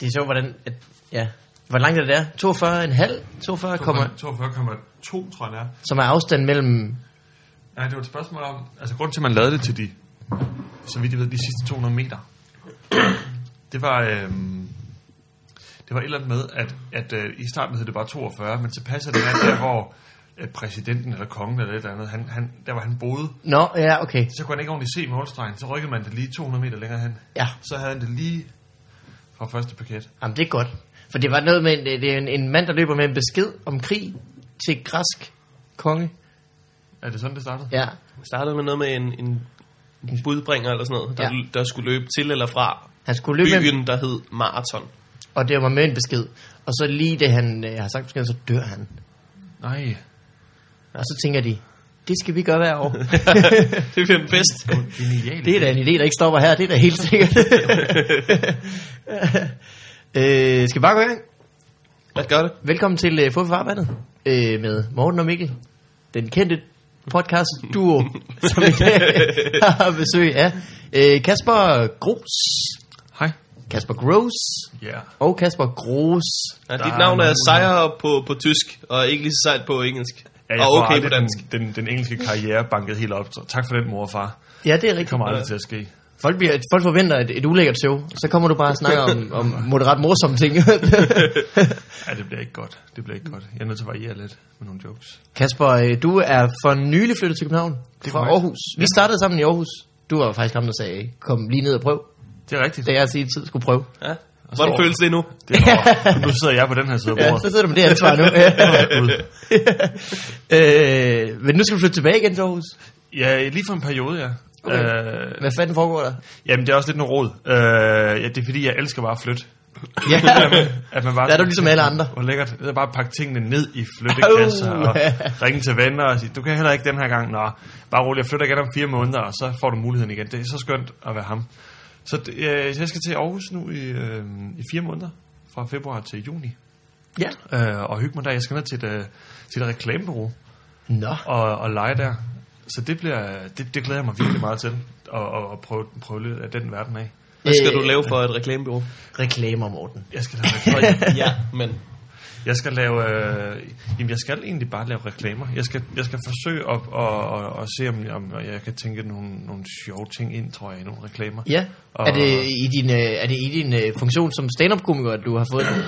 sjovt, hvordan... At, ja. Hvor langt er det der? 42,5? 42, komma- 42,2 tror jeg det er. som er afstand mellem... Nej, det var et spørgsmål om... Altså, grunden til, at man lavede det til de, så vidt jeg ved, de sidste 200 meter, det var... Øhm, det var et eller andet med, at, at øh, i starten hed det bare 42, men så passer det med, der hvor øh, præsidenten eller kongen eller et eller andet, han, han, der hvor han boede, Nå, ja, okay. så kunne han ikke ordentligt se målstregen, så rykkede man det lige 200 meter længere hen. Ja, Så havde han det lige fra første paket. jamen, det er godt. For det var noget med, en, det er en, en mand, der løber med en besked om krig til græsk konge. Er det sådan, det startede? Ja, Det startede med noget med en, en budbringer eller sådan noget, der, Ja. ja. der skulle løbe til eller fra han skulle løbe med, byen, der hed Marathon. og det var med en besked. Og så lige det, han øh, har sagt beskeden, så dør han. Nej. Og så tænker de, det skal vi gøre hver år. det bliver den bedste. Genialt. Det er da en idé, der ikke stopper her. Det er da helt sikkert. øh, skal vi bare gå i gang? Lad os gøre det. Velkommen til øh, Fod for Farvandet øh, med Morten og Mikkel. Den kendte podcast duo, som i dag har besøg af øh, Kasper Gros. Hej. Kasper Gros Ja. Yeah. og Kasper Gros. Ja, Der dit er navn er nogen- sejr på, på tysk, og ikke lige så sejt på engelsk. Ja, Ja, jeg og tror okay på aldrig, dansk. Den, den, den engelske karriere bankede helt op. Så tak for den, mor og far. Ja, det er Det rigtigt. kommer aldrig til at ske. Folk, bliver, folk forventer et, et ulækkert show, så kommer du bare og snakker om, om moderat morsomme ting. Ja, det bliver ikke godt. Det bliver ikke godt. Jeg er nødt til at variere lidt med nogle jokes. Kasper, øh, du er for nylig flyttet til København er fra korrekt. Aarhus. Vi startede sammen i Aarhus. Du var faktisk ham, der sagde, kom lige ned og prøv. Det er rigtigt. Da jeg i tid skulle prøve. Ja. Hvordan så- føles det nu? Det er over. Nu sidder jeg på den her side af Ja, så bordet. sidder du med det ansvar nu. øh, men nu skal du flytte tilbage igen til Aarhus. Ja, lige for en periode, ja. Okay. Øh, Hvad fanden foregår der? jamen, det er også lidt noget råd. Øh, ja, det er fordi, jeg elsker bare at flytte. Ja, At man bare der er du ligesom alle andre. Hvor lækkert. Det er bare at pakke tingene ned i flyttekasser Au. og ringe til venner og sige, du kan heller ikke den her gang. Nå, bare rolig, jeg flytter igen om fire måneder, og så får du muligheden igen. Det er så skønt at være ham. Så det, øh, så jeg skal til Aarhus nu i, øh, i fire måneder, fra februar til juni, Ja. øh, og hygge mig der. Jeg skal ned til et, øh, til et reklamebureau Nå. og, og lege der. Så det, bliver, det, det glæder jeg mig virkelig meget til, at, at, at prøve, prøve lidt af den verden af. Hvad skal Øh, du lave for et reklamebureau? Reklamer, Morten. Jeg skal lave ja, men... Jeg skal lave, øh, jamen jeg skal egentlig bare lave reklamer. Jeg skal, jeg skal forsøge at, at, at, at se, om, om jeg kan tænke nogle, nogle sjove ting ind, tror jeg, i nogle reklamer. Ja. Og- Er det i din, øh, er det i din øh, funktion som stand-up-komiker, at du har fået den?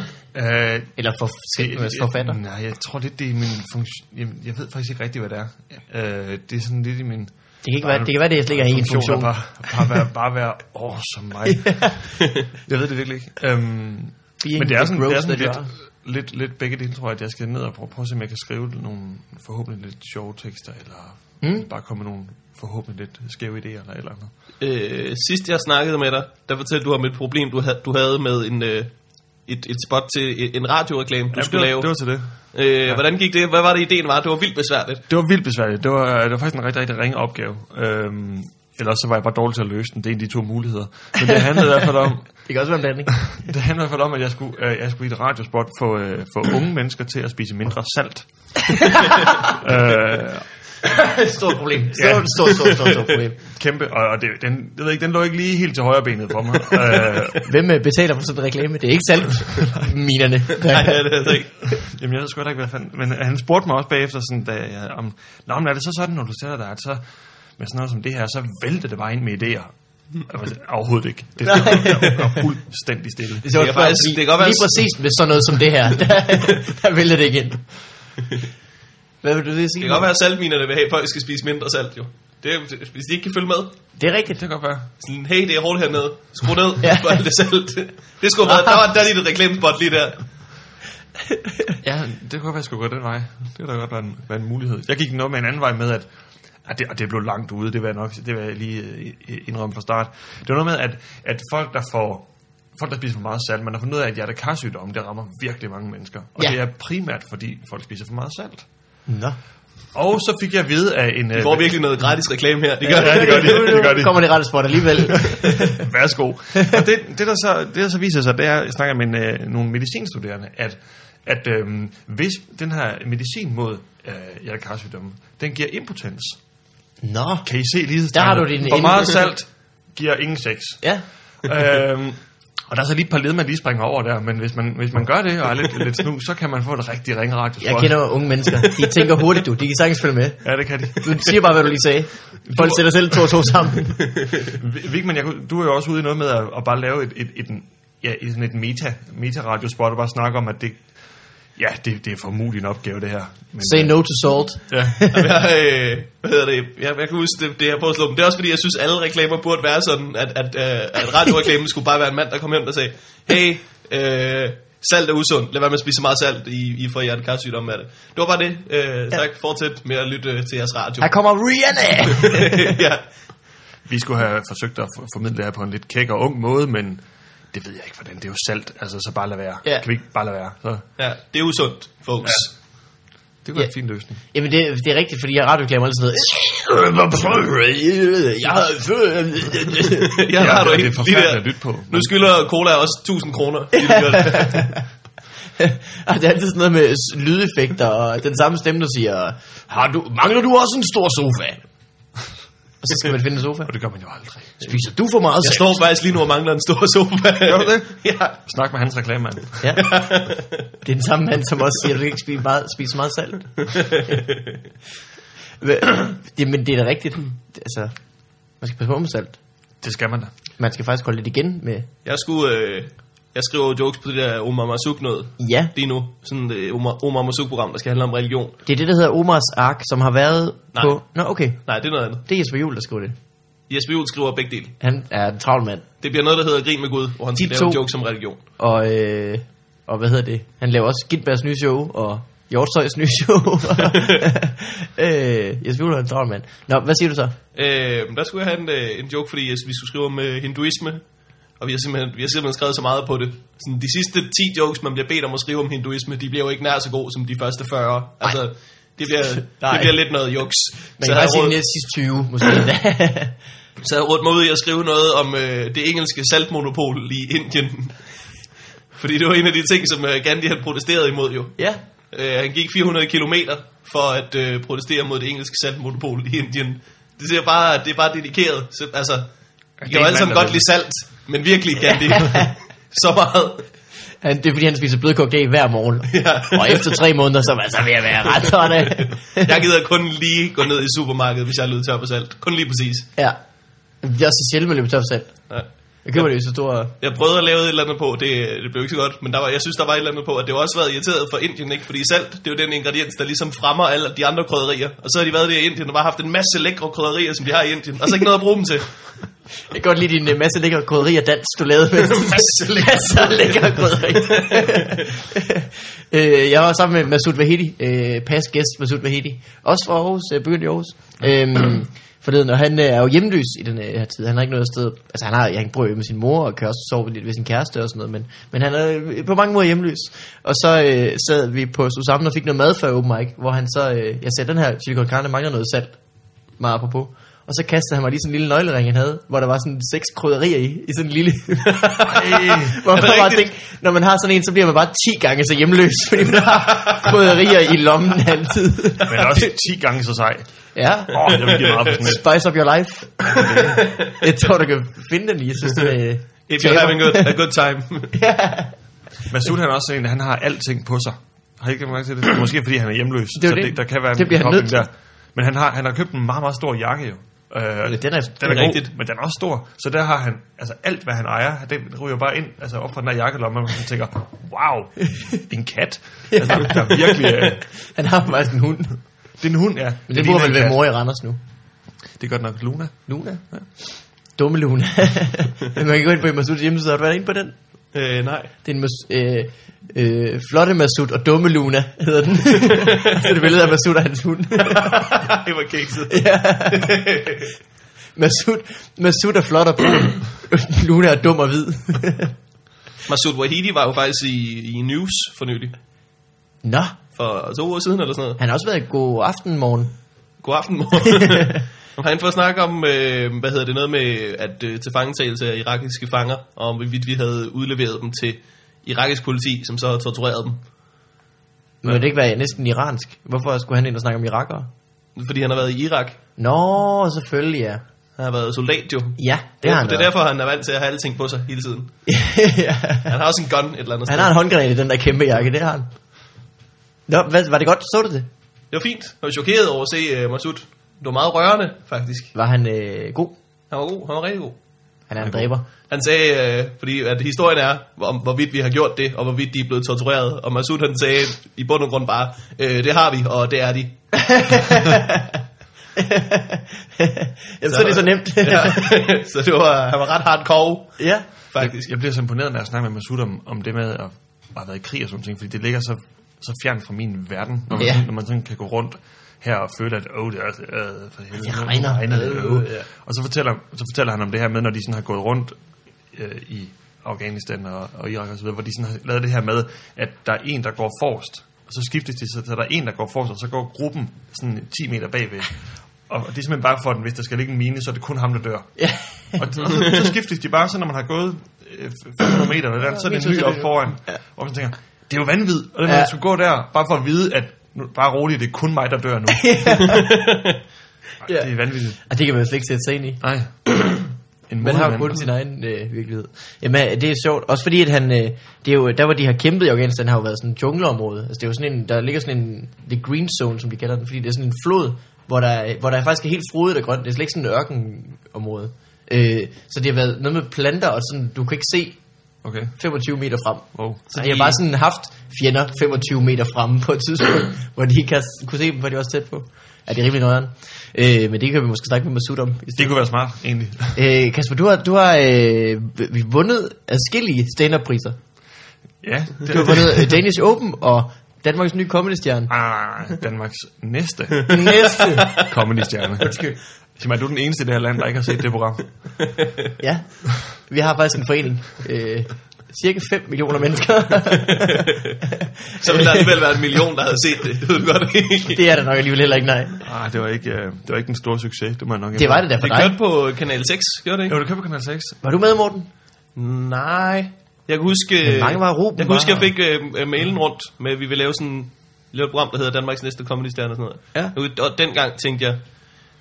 Øh, Eller for, altså forfatter? Jeg, nej, jeg tror lidt, det er min funktion. Jamen, jeg ved faktisk ikke rigtigt, hvad det er. Øh, det er sådan lidt i min... Det kan, ikke være, det kan være, det slet ikke er en funktion. er Bare, bare være, bare være åh, som mig. jeg ved det virkelig ikke. Øhm, Being Men det er the sådan, det er gross sådan that lidt, you lidt, lidt begge dele, tror jeg, at jeg skal ned og prøve, prøve at se, om jeg kan skrive nogle forhåbentlig lidt sjove tekster, eller Mm. mm. bare komme med nogle forhåbentlig lidt skæve idéer, eller et eller andet. Øh, sidst jeg snakkede med dig, der fortalte du om et problem, du havde, du havde med en, øh, et, et spot til e, en radioreklame, du Ja, skulle det, lave. var- det var til det. øh, hvordan gik det? Hvad var det, ideen var? Det var vildt besværligt. Det var vildt besværligt. Det var, det var faktisk en rigtig, rigtig ringe opgave. Øhm, ellers så var jeg bare dårlig til at løse den. Det er en af de to muligheder. Men det handlede i hvert fald om, are. Det kan også være en blanding. det handlede i hvert fald om at jeg skulle, øh, jeg skulle i et radiospot få, øh, få unge mennesker til at spise mindre salt. øh, Et stort problem. Stort, stort, stort, stort, stort problem. kæmpe, og, og det, den, jeg ved ikke, den lå ikke lige helt til højre benet for mig. øh, Hvem øh, betaler for sådan en reklame? Det er ikke salt minerne. Nej, det er det altså ikke. Jamen, jeg ved sgu heller ikke, hvad fanden... Men øh, han spurgte mig også bagefter, sådan, da jeg, om, Nå, men er det så sådan, når du sætter dig, at så med sådan noget som det her, så vælter det bare ind med idéer. Jeg var sådan, Overhovedet ikke. Det er jeg var fuldstændig stille. Det, sjovt, Det er faktisk- fordi det kan godt være- Lige præcis med sådan noget som det her, der, der vælter det igen. Hvad vil du lige sige? Det kan godt være, at saltminerne vil have, at folk skal spise mindre salt, jo. Det, er- hvis de ikke kan følge med, Det er rigtigt. Det kan godt være. sådan, hey, det er hårdt hernede, skru ned Ja. ja. for alt det salt. Det skulle være, der var der er lige et reklamespot lige der. Ja, det kunne være, at jeg skulle gå den vej. Det kunne da godt være en, være en mulighed. Jeg gik noget med en anden vej med, at, at det, og det blev langt ude, det var nok, det var jeg lige øh, indrømme fra start. Det var noget med, at, at folk, der får folk, der spiser for meget salt, man har fundet ud af, at hjertekarsygdomme, det rammer virkelig mange mennesker. Og Ja. ja. det er primært, fordi folk spiser for meget salt. Nå. Og så fik jeg at vide af en... Vi øh, får virkelig noget gratis reklame her. Det gør Ja, det gør de. Det gør de. kommer det rette spot alligevel. Værsgo. Og det, det, der så, det, der så viser sig, det er, jeg snakker med en, øh, nogle medicinstuderende, at, at øhm, hvis den her medicin mod øh, hjertekarsygdomme, den giver impotens. Nå. Kan I se lige Der har du din For ende. meget salt giver ingen sex. Ja. øhm, Og der er så lige et par led, man lige springer over der, men hvis man, hvis man gør det og er lidt, lidt snu, så kan man få et rigtig ringradio. Jeg kender jo unge mennesker. De tænker hurtigt, du. De kan sagtens følge med. Ja, det kan de. Du siger bare, hvad du lige sagde. Folk sætter selv to og to sammen. Vigman, jeg, kunne- du er jo også ude i noget med at, at bare lave et, et, et, ja, et, sådan et meta, meta-radiospot og bare snakke om, at det, ja, det, det er for umulig en opgave, det her. Men, Say no to salt. ja. Jamen, jeg, øh, hvad hedder det? Jeg, jeg kan huske det, det her påslå, men det er også fordi, jeg synes, alle reklamer burde være sådan, at, at, øh, at radioreklamen skulle bare være en mand, der kom hjem og sagde, hey, øh, salt er usundt, lad være med at spise så meget salt, I, I får hjertekarsygdomme af det. Det var bare det. Øh, tak, fortsæt med at lytte øh, til jeres radio. Her kommer Rihanna! ja. Vi skulle have forsøgt at for- formidle det her på en lidt kæk og ung måde, men det ved jeg ikke, hvordan. Det er jo salt, altså så bare lad være. Ja. Kan vi ikke bare lade være? Så, ja, det er usundt, folks. Ja. det kunne være Ja. en fin løsning. Jamen, det, det er rigtigt, fordi jeg radioklamer altid sådan noget. Jeg har Jeg har du det er ikke forfærdeligt at lytte på, Nu men- skylder cola også 1000 kroner. fordi du gør det. og det er altid sådan noget med s- lydeffekter, og den samme stemme, der siger, har du, mangler du også en stor sofa? Og så skal man finde en sofa. Og det gør man jo aldrig. Spiser du for meget Jeg salt? står faktisk lige nu og mangler en stor sofa. Gør du det? Ja. Snak med hans reklamemand. Ja. Det er den samme mand, som også siger, at du kan ikke spise meget, spise meget salt. Men- det, men det er da rigtigt. Altså, man skal passe på med salt. Det skal man da. Man skal faktisk holde lidt igen med Jeg skulle... Øh, jeg skriver jokes på det der Omar Masuk noget ja. lige nu. Sådan et øh, Omar, Omar Masuk program, der skal handle om religion. Det er det, der hedder Omars Ark, som har været Nej. på... Nå, okay. Nej, det er noget andet. Det er Jesper Juhl, der skriver det. Jesper Juhl skriver begge dele. Han er en travl mand. Det bliver noget, der hedder Grin med Gud, hvor han skal De lave to- jokes om religion. Og, øh, og hvad hedder det? Han laver også Gindbergs nye show, og Hjortstøjs nye show. øh, Jesper Juhl er en travl mand. Nå, hvad siger du så? Øh, men der skulle jeg have en, øh, en joke, fordi jeg, vi skulle skrive om øh, hinduisme. Og vi har, simpelthen, vi har simpelthen skrevet så meget på det. Sådan, de sidste 10 jokes, man bliver bedt om at skrive om hinduisme, de bliver jo ikke nær så gode som de første 40. Altså, det bliver, det Nej. bliver lidt noget juks. Man kan Så jeg bare har sige de råd- næste sidste 20, måske endda. Så jeg rådte mig ud i at skrive noget om øh, det engelske saltmonopol i Indien. Fordi det var en af de ting, som øh, Gandhi han protesterede imod jo. ja. Øh, han gik 400 km for at øh, protestere mod det engelske saltmonopol i Indien. Det siger bare, at det er bare dedikeret. Så, altså, vi det kan er jo en alle sammen mand, godt der lide salt, men virkelig Gandhi. så meget. Han, det er fordi, han spiser blødkogt æg hver morgen. Ja. Og efter tre måneder, så er man så ved at være ret sådan. af. Jeg gider kun lige gå ned i supermarkedet, hvis jeg er løbet tør for salt. Kun lige præcis. ja. Det er også så sjældent, man løber tør for salt. Ja. Jeg køber det i så stor... Jeg prøvede at lave et eller andet på, det, det blev ikke så godt, men der var, jeg synes, der var et eller andet på, at det har også været irriteret for Indien, ikke? fordi salt, det er jo den ingrediens, der ligesom fremmer alle de andre krydderier. Og så har de været der i Indien og bare haft en masse lækre krydderier, som de har i Indien, og så ikke noget at bruge dem til. Jeg kan godt lide din øh, masse lækker krydderi og dans, du lavede med. Masse lækre masser af lækker krydderi. øh, jeg var sammen med Masud Vahedi, øh, past gæst Masud Vahedi. Også fra Aarhus, øh, begyndt i Aarhus. Øhm, forleden, og han øh, er jo hjemløs i den øh, her tid. Han har ikke noget sted. Altså, han, har, han bor jo med sin mor og kan også sove lidt ved sin kæreste og sådan noget. Men, men han er øh, på mange måder hjemløs. Og så øh, sad vi på sammen og fik noget mad før open mic, hvor han så... Øh, jeg sagde, den her chili con carne mangler noget salt meget apropos. Og så kastede han mig lige sådan en lille nøglering, han havde, hvor der var sådan seks krydderier i, i sådan en lille... hvor man er det bare rigtigt? tænkte, når man har sådan en, så bliver man bare 10 gange så hjemløs, fordi man har krydderier i lommen altid. Men også 10 gange så sej. ja. Åh, oh, jeg vil give meget på sådan et. Spice up your life. jeg tror, du kan finde den i. Jeg synes, det er... If you're having good, a good time. Ja. Masud han er også sådan en, han har alting på sig. Har I ikke lagt mærke til det? Måske fordi han er hjemløs. er jo så det. det. der kan være Det bliver han kobling nødt til. Men han har, han har købt en meget, meget stor jakke jo. Øh, og Den er, den er, Det er god, rigtigt. men den er også stor. Så der har han, altså alt hvad han ejer, det ryger bare ind altså op fra den der jakkelomme, og man tænker, wow, det er en kat. Altså, der, der er virkelig, øh, Han har faktisk en hund. det er en hund, ja. Men det ligner burde vel en være kat. mor i Randers nu. Det er godt nok Luna. Luna? Ja. Dumme Luna. Men man kan gå ind på Masuds hjemmeside. Har du været inde på den? øh, nej. Det er en mas- øh, øh, flotte Masud og dumme Luna, hedder den. så det billede af Masud og hans hund. det var kikset. ja. Masud, Masud er flot og brun. Luna er dum og hvid. Masoud Wahidi var jo faktisk i, i News for nylig. Nå, For to uger siden eller sådan noget. han har også været i god aften morgen. God aften, mor. Han får at snakke om, øh, hvad hedder det, noget med at øh, tilfangetagelse af irakiske fanger, og om hvorvidt vi havde udleveret dem til irakisk politi, som så havde tortureret dem. Må det ikke være næsten iransk? Hvorfor skulle han ind og snakke om irakere? Fordi han har været i Irak. Nå, selvfølgelig ja. Han har været soldat jo. Ja, det Det har er, han det er været. derfor, han er vant til at have alting på sig hele tiden. ja. Han har også en gun et eller andet Han sted. har en håndgranat i den der kæmpe jakke, det har han. Nå, hvad, var det godt? Så du det? Det var fint. Jeg var chokeret over at se uh, Masud. Det var meget rørende, faktisk. Var han øh, god? Han var god. Han var rigtig god. Han er en dræber. Han sagde, øh, fordi at historien er, om hvorvidt vi har gjort det, og hvorvidt de er blevet tortureret. Og Masud han sagde i bund og grund bare, øh, det har vi, og det er de. Jamen, så er det så nemt. ja. så det var, han var ret hardcore, ja. faktisk. Jeg, jeg bliver så imponeret, når jeg snakker med Masud om, om det med at, at have været i krig og sådan ting, fordi det ligger så, så fjernt fra min verden, når man, Ja. ja. når man sådan kan gå rundt her og føle, at oh, det er øh, for helvede, Det nu regner. det, Øh, øh. ja. Og så fortæller, så fortæller han om det her med, når de sådan har gået rundt øh, i Afghanistan og, og Irak og så videre, hvor de sådan har lavet det her med, at der er en, der går forrest, og så skiftes de, så så der er en, der går forrest, og så går gruppen sådan 10 meter bagved. Og det er simpelthen bare for den, hvis der skal ligge en mine, så er det kun ham, der dør. ja. Og, og så, så skiftes de bare, så når man har gået øh, 500 meter, eller andet, så er det en ny op foran. Og man tænker, det er jo vanvittigt. Og det, Ja. man skulle gå der, bare for at vide, at nu, bare roligt, det er kun mig, der dør nu. Ja. ja. Det er vanvittigt. Og det kan man jo slet ikke sætte sig ind i. Nej. En Man har jo modig kun mand. sin egen øh, virkelighed. Jamen, øh, det er sjovt. Også fordi, at han, øh, det er jo, der hvor de har kæmpet i Afghanistan, har jo været sådan et jungleområde. Altså, det er jo sådan en, der ligger sådan en, the green zone, som de kalder den, fordi det er sådan en flod, hvor der, hvor der faktisk er helt frodigt og grønt. Det er slet ikke sådan et ørkenområde. Øh, så det har været noget med planter, og sådan, du kan ikke se Okay, 25 meter frem. wow. Så de har bare sådan haft fjender 25 meter fremme på et tidspunkt, hvor de ikke har s- kunne se dem, for de var så tæt på. Ja, det er rimelig nøjeren. Øh, men det kan vi måske snakke med Masud om. i Det stedet. kunne være smart, egentlig. Øh, Kasper, du har, du har øh, v- vi vundet adskillige stand-up-priser. Ja, det Du har vundet øh, Danish Open og Danmarks nye comedy-stjerne. Ah, Danmarks næste Næste. comedy-stjerne. Simon, du er den eneste i det her land, der ikke har set det program. Ja, vi har faktisk en forening. Øh, cirka 5 millioner mennesker. Så ville der alligevel være en million, der havde set det. Det ved du godt. det er der nok alligevel heller ikke, nej. Ah, det var ikke, øh, det var ikke en stor succes, det må jeg nok Det var indrømme. det der for dig. det kørte på Kanal 6, gjorde det Jo, ikke? du købte Kanal 6. Var du med, Morten? Nej. Jeg kan huske, Men mange var Ruben Øh, jeg, kan huske, var- jeg fik øh, øh, mailen rundt med, at vi vil lave sådan lave et program, der hedder Danmarks Næste Comedy Stjerne og sådan noget. Ja. Og dengang tænkte jeg,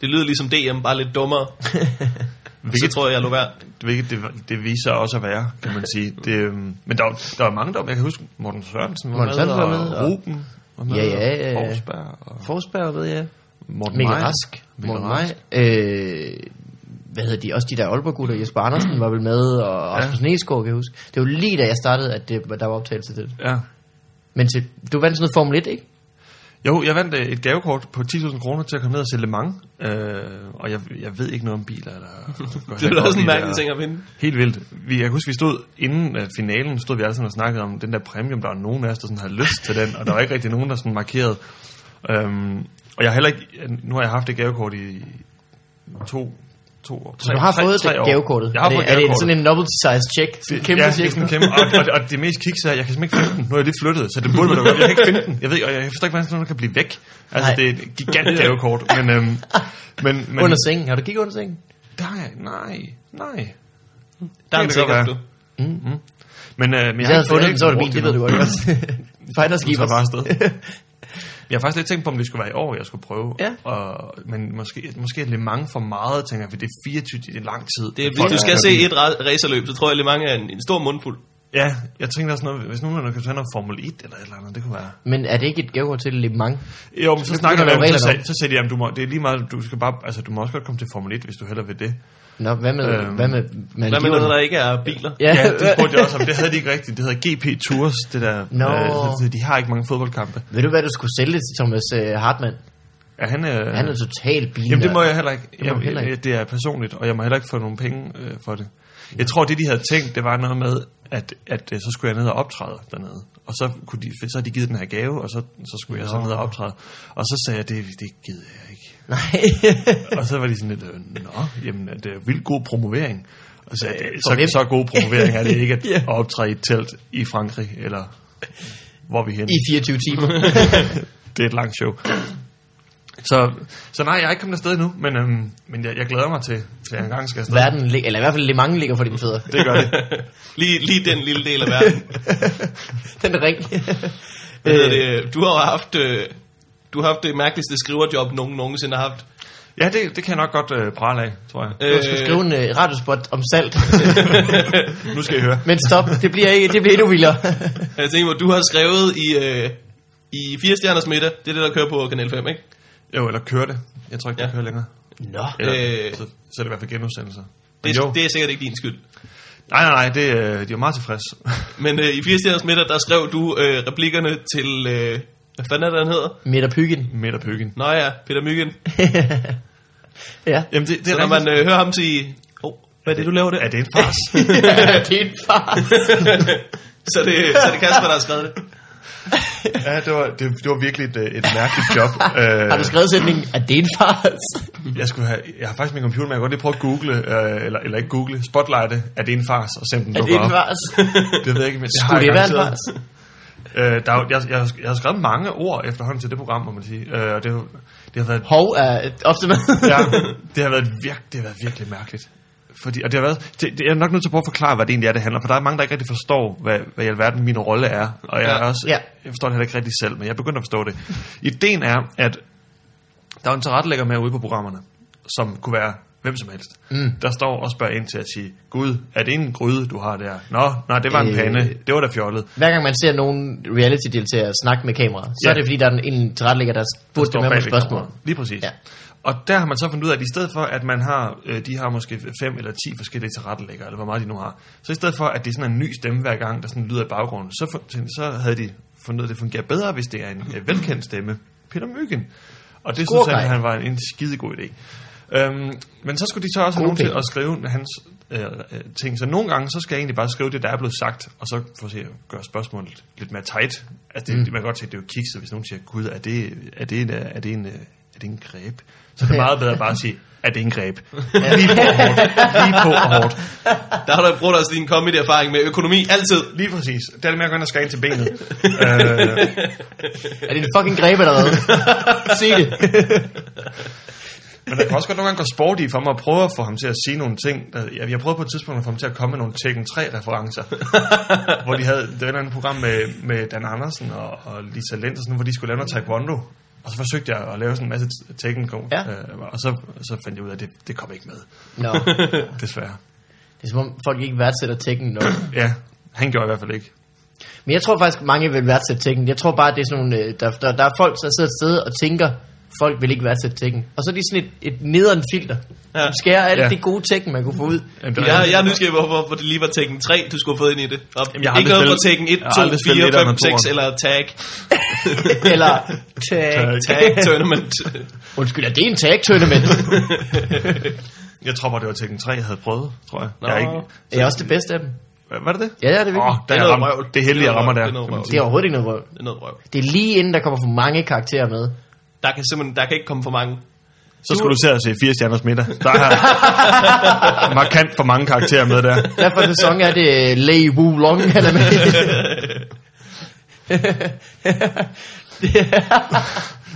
det lyder ligesom DM, bare lidt dummere. Så Hvilket- tror jeg, jeg lå værd. hvilket det, det viser også at være, kan man sige. Det, øhm, men der, var- der var mange der, var- jeg kan huske, Morten Sørensen var Morten med, Sørensen var med, og og- Ruben var med, Ja, ja, ja, ja. og Forsberg, og Forsberg, ved jeg. Morten Mikkel Meier. Rask, Mikkel Morten Rask. Maj, øh, hvad hedder de, også de der Aalborg-gutter, Jesper Andersen var vel med, og Rasmus ja. Nesgaard, kan jeg huske. Det var lige da jeg startede, at det, der var optagelse til det. Ja. Men til, du vandt sådan noget Formel 1, ikke? Jo, jeg vandt øh, et gavekort på 10.000 kroner til at komme ned og se Le Mans, øh, og jeg, jeg ved ikke noget om biler. Eller, Det var også en mærkelig ting. ting at vinde. Helt vildt. Vi, jeg kan huske, vi stod inden øh, finalen, stod vi alle sammen og snakkede om den der præmium, der var nogen af os, der sådan havde lyst til den, og der var ikke rigtig nogen, der sådan markerede. Øhm, og jeg har heller ikke, øh, nu har jeg haft det gavekort i to, to år. Så du har fået det gavekortet. Jeg har er det, fået er det gavekortet. sådan en novelty size check? Sådan en kæmpe ja, ja, det er check? sådan en kæmpe, og, og, og, det mest kiks er, at jeg kan simpelthen ikke finde den. Nu er jeg lige flyttet, så det burde være godt. Jeg kan ikke finde den. Jeg ved, og jeg forstår ikke, hvordan sådan noget kan blive væk. Altså, Nej. det er et gigant gavekort. Men, øhm, men, men, Under sengen. Har du kigget under sengen? nej, nej, nej. Der er Det en kan godt sikkert, være. du. Men, øh, men Hvis jeg jeg, har havde fundet ikke- jeg har den, ikke så var det brugt min, det ved du nu. godt også. Fighters Du tager Keepers. bare afsted. Jeg har faktisk lidt tænkt på, om det skulle være i år, jeg skulle prøve. Ja. Og, men måske, måske er Le Mans for meget, tænker jeg, for det er 24, det er lang tid. Det er, hvis Folk du skal er- se et ra- racerløb, så tror jeg, at mange er en, en stor mundfuld. Ja, jeg tænkte også noget, hvis nogen af jer kan tage noget Formel 1 eller et eller andet, det kunne være. Men er det ikke et gavekort til Le Mans? Jo, men så, Så snakker begynder der jeg med dem, så, regler sag, så sagde de, jamen, du må, det er lige meget, du skal bare, altså du må også godt komme til Formel 1, hvis du heller vil det. Nå, hvad med, Øhm, hvad med, Hvad med Maldiverne? noget, der ikke er biler? Ja, Ja, det spurgte jeg også om, det havde de ikke rigtigt, det hedder GP Tours, det der, Nå. øh, de har ikke mange fodboldkampe. ved du, hvad du skulle sælge til Thomas øh, Hartmann? Er han, øh, Han er totalt bilen. Jamen det må jeg heller ikke. må du Jamen, heller heller ikke. ikke. Det er personligt, og jeg må heller ikke få nogen penge øh, for det. Jeg tror, det de havde tænkt, det var noget med, at, at øh, så skulle jeg ned og optræde dernede. Og så, kunne de, så havde de givet den her gave, og så, så skulle jeg så ned og optræde. Og så sagde jeg, det, det gider jeg ikke. Nej. Og så var de sådan lidt, øh, nå, jamen, det er vildt god promovering. Og så, det, for hvem? så, så god promovering er det ikke at, Ja. at optræde i et telt i Frankrig, eller hvor er vi hen. I 24 timer. det er et langt show. Så, så nej, jeg er ikke kommet afsted endnu, men, øhm, men jeg, jeg glæder mig til, til at jeg engang skal afsted. Verden lig- eller i hvert fald Le Mans ligger for dine fødder. Det gør det. Lige, lige den lille del af verden. Den ring. øh, Hvad hedder det? Du har jo haft, øh, du har haft det mærkeligste skriverjob, nogen nogensinde har haft. Ja, det, det kan jeg nok godt øh, prale af, tror jeg. Du skal skrive en øh, radiospot om salt. Nu skal I høre. Men stop, det bliver, ikke, det bliver endnu vildere. Jeg tænker på, du har skrevet i, øh, i Fire Stjerners Middag. Det er det, der kører på Kanal 5, ikke? Jo, eller køre det. Jeg tror ikke, det Ja. kører længere. Nå. Eller, Øh. øh. så, så er det i hvert fald genudsendelser. Men Det, jo. er, det er sikkert ikke din skyld. Nej, nej, nej, det, øh, de er jo meget tilfredse. Men øh, i Fire Stjerners Middag, der skrev du øh, replikkerne til... Øh, hvad fanden er det, han hedder? Midt af pyggen. Midt af pyggen. Nå ja, Peter Myggen. ja. Jamen, det, det Så er når man rigtigt. øh, hører ham sige... Oh, hvad er det, du laver det? Er det en fars? det er en far. så, det, så det er Kasper, der har skrevet det. ja, det var, det, det var virkelig et, øh, et mærkeligt job. Øh, Har du skrevet sætningen, at det er en far? jeg, skulle have, jeg har faktisk min computer, men jeg kan godt lige prøve at google, øh, eller, eller ikke google, spotlighte, er det en fars, og sende den Er det dukker en op. far? Det ved jeg ikke, men det har Skulle det jeg være en garanteret. far? Øh, der, er jo- jeg, jeg, har- jeg har skrevet mange ord efterhånden til det program, må man sige. Øh, og det, har jo- det har været Hov er ofte med. ja, det har været virk, det har været virkelig mærkeligt. Fordi, og det har været, det, det, jeg er nok nødt til at prøve at forklare, hvad det egentlig er, det handler om, For der er mange, der ikke rigtig forstår, hvad, hvad i alverden min rolle er. Og jeg, Ja. er også, Ja. jeg forstår det heller ikke rigtig selv, men jeg er begyndt at forstå det. Ideen er, at der er en tilrettelægger med ude på programmerne, som kunne være hvem som helst. Mm. Der står og spørger ind til at sige, Gud, er det en gryde, du har der? Nå, nej, det var en Øh. øh. pande. Det var da fjollet. Hver gang man ser nogen reality-deltagere snakke med kamera, så Ja. er det fordi, der er en, en tilrettelægger, der burde står det med bag med ved spørgsmål. kameraet. Lige præcis. Ja. Ja. Og der har man så fundet ud af, at i stedet for, at man har, øh, de har måske fem eller ti forskellige tilrettelæggere, eller hvor meget de nu har, så i stedet for, at det er sådan en ny stemme hver gang, der sådan lyder i baggrunden, så, fun- tænkte- så havde de fundet ud af, at det fungerer bedre, hvis det er en øh, velkendt stemme. Peter Myggen. Og det Skurk, synes han, nej. han var en, en skidegod idé. Øhm, men så skulle de så også have God nogen til idé. at skrive hans øh, øh, ting. Så nogle gange, så skal jeg egentlig bare skrive det, der er blevet sagt, og så få se at gøre spørgsmålet lidt mere tight. Altså, det, mm. man kan godt se, at det er jo kikset, hvis nogen siger, gud, er det, er det, en, øh, er det en, øh, er det en greb? Så er det Ja. meget bedre bare at sige, er det en greb? Lige på og hårdt. Lige på og hårdt. Der har du brugt også din comedy-erfaring med økonomi altid. Lige præcis. Det er det med at gå ind og skære ind til benet. øh, Er det en fucking greb eller hvad? Se det. Men det kan også godt nogle gange gå sport i for mig at prøve at få ham til at sige nogle ting. Der- Jeg, jeg prøvede på et tidspunkt at få ham til at komme med nogle Tekken 3-referencer. hvor de havde det var et eller andet program med, med Dan Andersen og, og Lisa Lendersen, hvor de skulle lave noget taekwondo. Og så forsøgte jeg at lave sådan en masse Tekken Ja. ja. øh, og så, så fandt jeg ud af, at det, det kom ikke med, Nå, desværre. det er som om folk ikke værdsætter tekken nok. Ja, han gjorde i hvert fald ikke. Men jeg tror faktisk, mange vil værdsætte tekken. Jeg tror bare, det er sådan nogle, øh, der, der, der er folk, der sidder et sted og tænker, folk vil ikke værdsætte tekken. Og så er de sådan et, et nederen filter. Ja. Ja. Skærer alt Ja. det gode tekken, man kunne få ud. Jamen, det Jeg, var- jeg er nysgerrig på, hvorfor det lige var Tekken 3, du skulle have fået ind i det. Og Jamen, jeg har ikke aldrig noget for spillet- Tekken 1, jeg har 2, aldrig spillet 4, 5, etteren og 6 toeren. eller Tag. Eller tag. Tag Tournament. Undskyld, er det en tag tournament? Jeg tror bare, det var Tekken 3, jeg havde prøvet, tror jeg. Nå. jeg er ikke, Det er også det bedste af dem. Hva- var det det? Ja, ja, det er Åh, vigtigt. der er det, noget jeg rammer, vrøvl. det heldige, Det er jeg rammer noget der. vrøvl. Det er noget kan man sige. Det er overhovedet ikke noget røv. Det er noget røv. Det er lige inden, der kommer for mange karakterer med. Der kan simpelthen, der kan ikke komme for mange. Så skulle du se at se fire stjerners middag. Der er markant for mange karakterer med der. Derfor sæson er det øh, Lei Wu Long, han er med.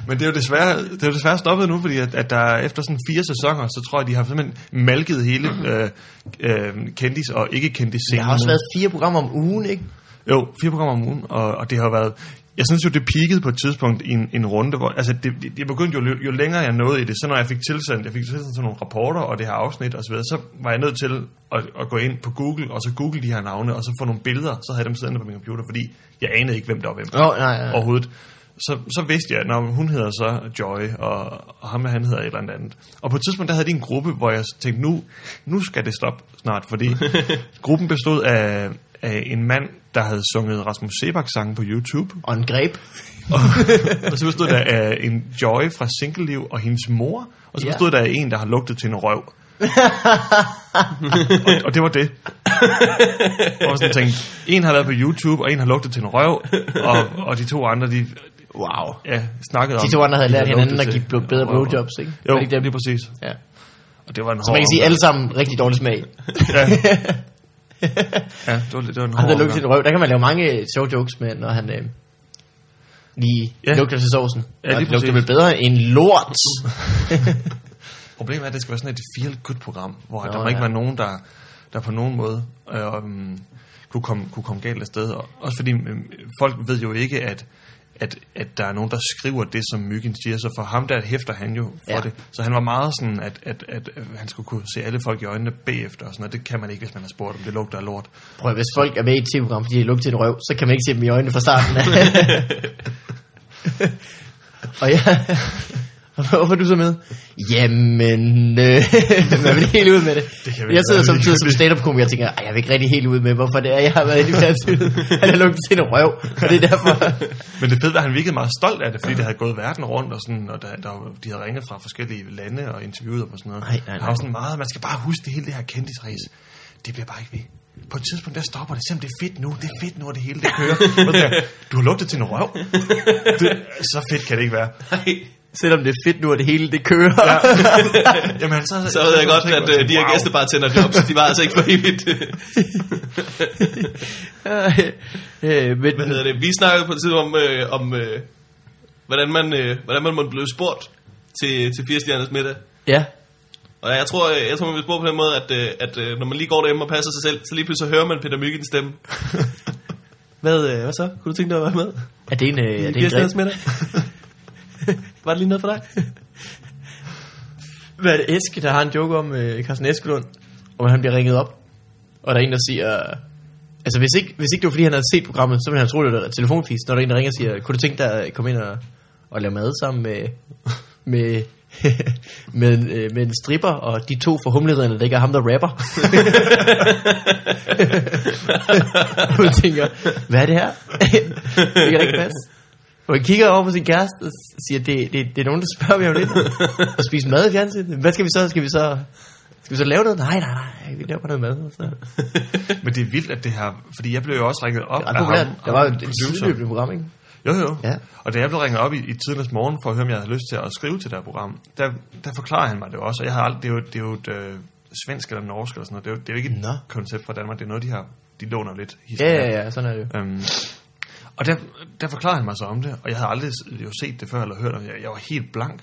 Men det er jo desværre, det er jo desværre stoppet nu, fordi at, at der efter sådan fire sæsoner, så tror jeg, de har simpelthen malket hele øh, øh, kendis og ikke kendis scenen. Der har også været fire programmer om ugen, ikke? Jo, fire programmer om ugen, og, og det har været... Jeg synes jo, det peakede på et tidspunkt i en, en runde, hvor... Altså, det, det- jeg begyndte jo, jo længere jeg nåede i det, så når jeg fik tilsendt, jeg fik tilsendt sådan nogle rapporter og det her afsnit osv., så, videre, så var jeg nødt til at, at, gå ind på Google, og så google de her navne, og så få nogle billeder, så havde jeg dem siddende på min computer, fordi jeg anede ikke, hvem der var hvem Nå, nej, nej. overhovedet. Så, så vidste jeg, når hun hedder så Joy, og, og ham her, han hedder et eller andet andet. Og på et tidspunkt, der havde de en gruppe, hvor jeg tænkte, nu, nu skal det stoppe snart, fordi gruppen bestod af, af en mand, der havde sunget Rasmus Sebak-sange på YouTube. Og en greb. Og så bestod der af en Joy fra Single Liv og hendes mor. Og så Ja. bestod der af en, der har lugtet til en røv. og, og det var det. Og sådan tænkte, en har været på YouTube, og en har lugtet til en røv, og, og de to andre, de Wow. ja, snakkede om... De to andre havde de lært hinanden at lugtet give til- bl- bedre Ja, blowjobs, ikke? Jo, Var det ikke dem? lige præcis. Ja. Og det var en hård Så man kan sige, omgang. alle sammen rigtig dårlig smag. Ja. ja, det var, det var Han en hård der lugter til omgang. en røv. Der kan man lave mange øh, sjove jokes med, når han øh, lige Ja. lugter til sovsen. Ja, lige det lugter præcis. vel bedre end lort. Problemet er, at det skal være sådan et feel-good-program, hvor Nå, der må ikke ja. være nogen, der, der på nogen måde øh, um, kunne, komme, kunne komme galt afsted. Og, også fordi øh, folk ved jo ikke, at at, at der er nogen, der skriver det, som Myggen siger. Så for ham der hæfter han jo for Ja. ja. det. Så han var meget sådan, at, at, at, at han skulle kunne se alle folk i øjnene bagefter. Og sådan noget. Det kan man ikke, hvis man har spurgt, om det lugter af lort. Prøv at, hvis folk er med i et tv-program, fordi de lugter en røv, så kan man ikke se dem i øjnene fra starten af. og ja, hvorfor er du så med? Jamen, øh, man vil helt ud med det. Det kan jeg sidder vi ikke være samtidig som ligegyldigt. stand-up-komiker og tænker, "Ej, jeg vil ikke rigtig helt ud med, hvorfor det er, jeg har været i fjernsynet. Han har lugtet til en røv, og det er derfor. Men det fede var, at han virkede meget stolt af det, fordi det havde gået verden rundt, og, sådan, og der, der, var- de havde ringet fra forskellige lande og interviewet dem og sådan noget. Nej, nej, nej. Der var sådan meget, man skal bare huske det hele det her kendtisræs. Det bliver bare ikke ved. På et tidspunkt, der stopper det. Selvom det er fedt nu, det er fedt nu, og det hele det kører. Og der, du har lugtet til en røv. Det, så fedt kan det ikke være. Nej. Selvom det er fedt nu, at det hele det kører. Ja. Jamen, så, Så ved jeg godt, tænker at øh, de her wow. gæstebartenderjobs, de var altså ikke for evigt. øh, men, Hvad hedder det? Vi snakkede på et tidspunkt om, øh, om øh, hvordan, man, øh, hvordan man måtte blive spurgt til, til firestjerners middag. ja. Og jeg tror, øh, jeg tror man bliver spurgt på den måde, at, øh, at øh, når man lige går derhjemme og passer sig selv, så lige pludselig så hører man Peter Myggens stemme. hvad, øh, hvad så? Kunne du tænke dig at være med? Er det en, øh, er Ja, det en det grim? er middag? Var det lige noget for dig? Hvad er det Eske, der har en joke om øh, Carsten Eskelund, om at han bliver ringet op, og der er en, der siger... Altså, hvis ikke, hvis ikke det var, fordi han havde set programmet, så ville han tro, det var telefonfis, når der er en, der ringer og siger, kunne du tænke dig at komme ind og, og lave mad sammen med, med, med, en, øh, med en stripper og de to forhumlederne, der ikke er ham, der rapper? Hun tænker, hvad er det her? det kan da ikke passe. Og jeg kigger over på sin kæreste og siger, det, det, det er nogen, der spørger mig om lidt. Og spise mad i fjernsynet. Hvad skal vi så? Skal vi så, skal vi så lave noget? Nej, nej, nej. Vi laver bare noget mad. og Så. Men det er vildt, at det her... Fordi jeg blev jo også ringet op Det er ret populært. og Der var jo en et producer. sideløbende program, ikke? Jo, jo. Ja. Ja. Og da jeg blev ringet op i, i tidernes morgen for at høre, om jeg havde lyst til at skrive til det her program, der, der forklarede han mig det også. Og jeg havde aldrig, det er jo, det er jo et øh, svensk eller norsk eller sådan noget. Det er jo, det er jo ikke et Nå. koncept fra Danmark. Det er noget, de har... De låner lidt Ja, historie. ja, ja. Sådan er det jo. Øhm, og der, der forklarede han mig så om det, og jeg havde aldrig s- jo set det før eller hørt om det. Jeg, jeg var helt blank,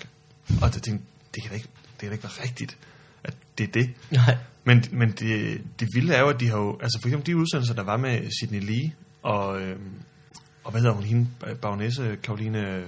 og jeg tænkte, det kan da ikke, det kan da ikke være rigtigt, at det er det. Nej. Men, men det, det vilde er jo, at de har jo, altså for eksempel de udsendelser, der var med Sydney Lee, og, øhm, og hvad hedder hun, hende, bagnæse Karoline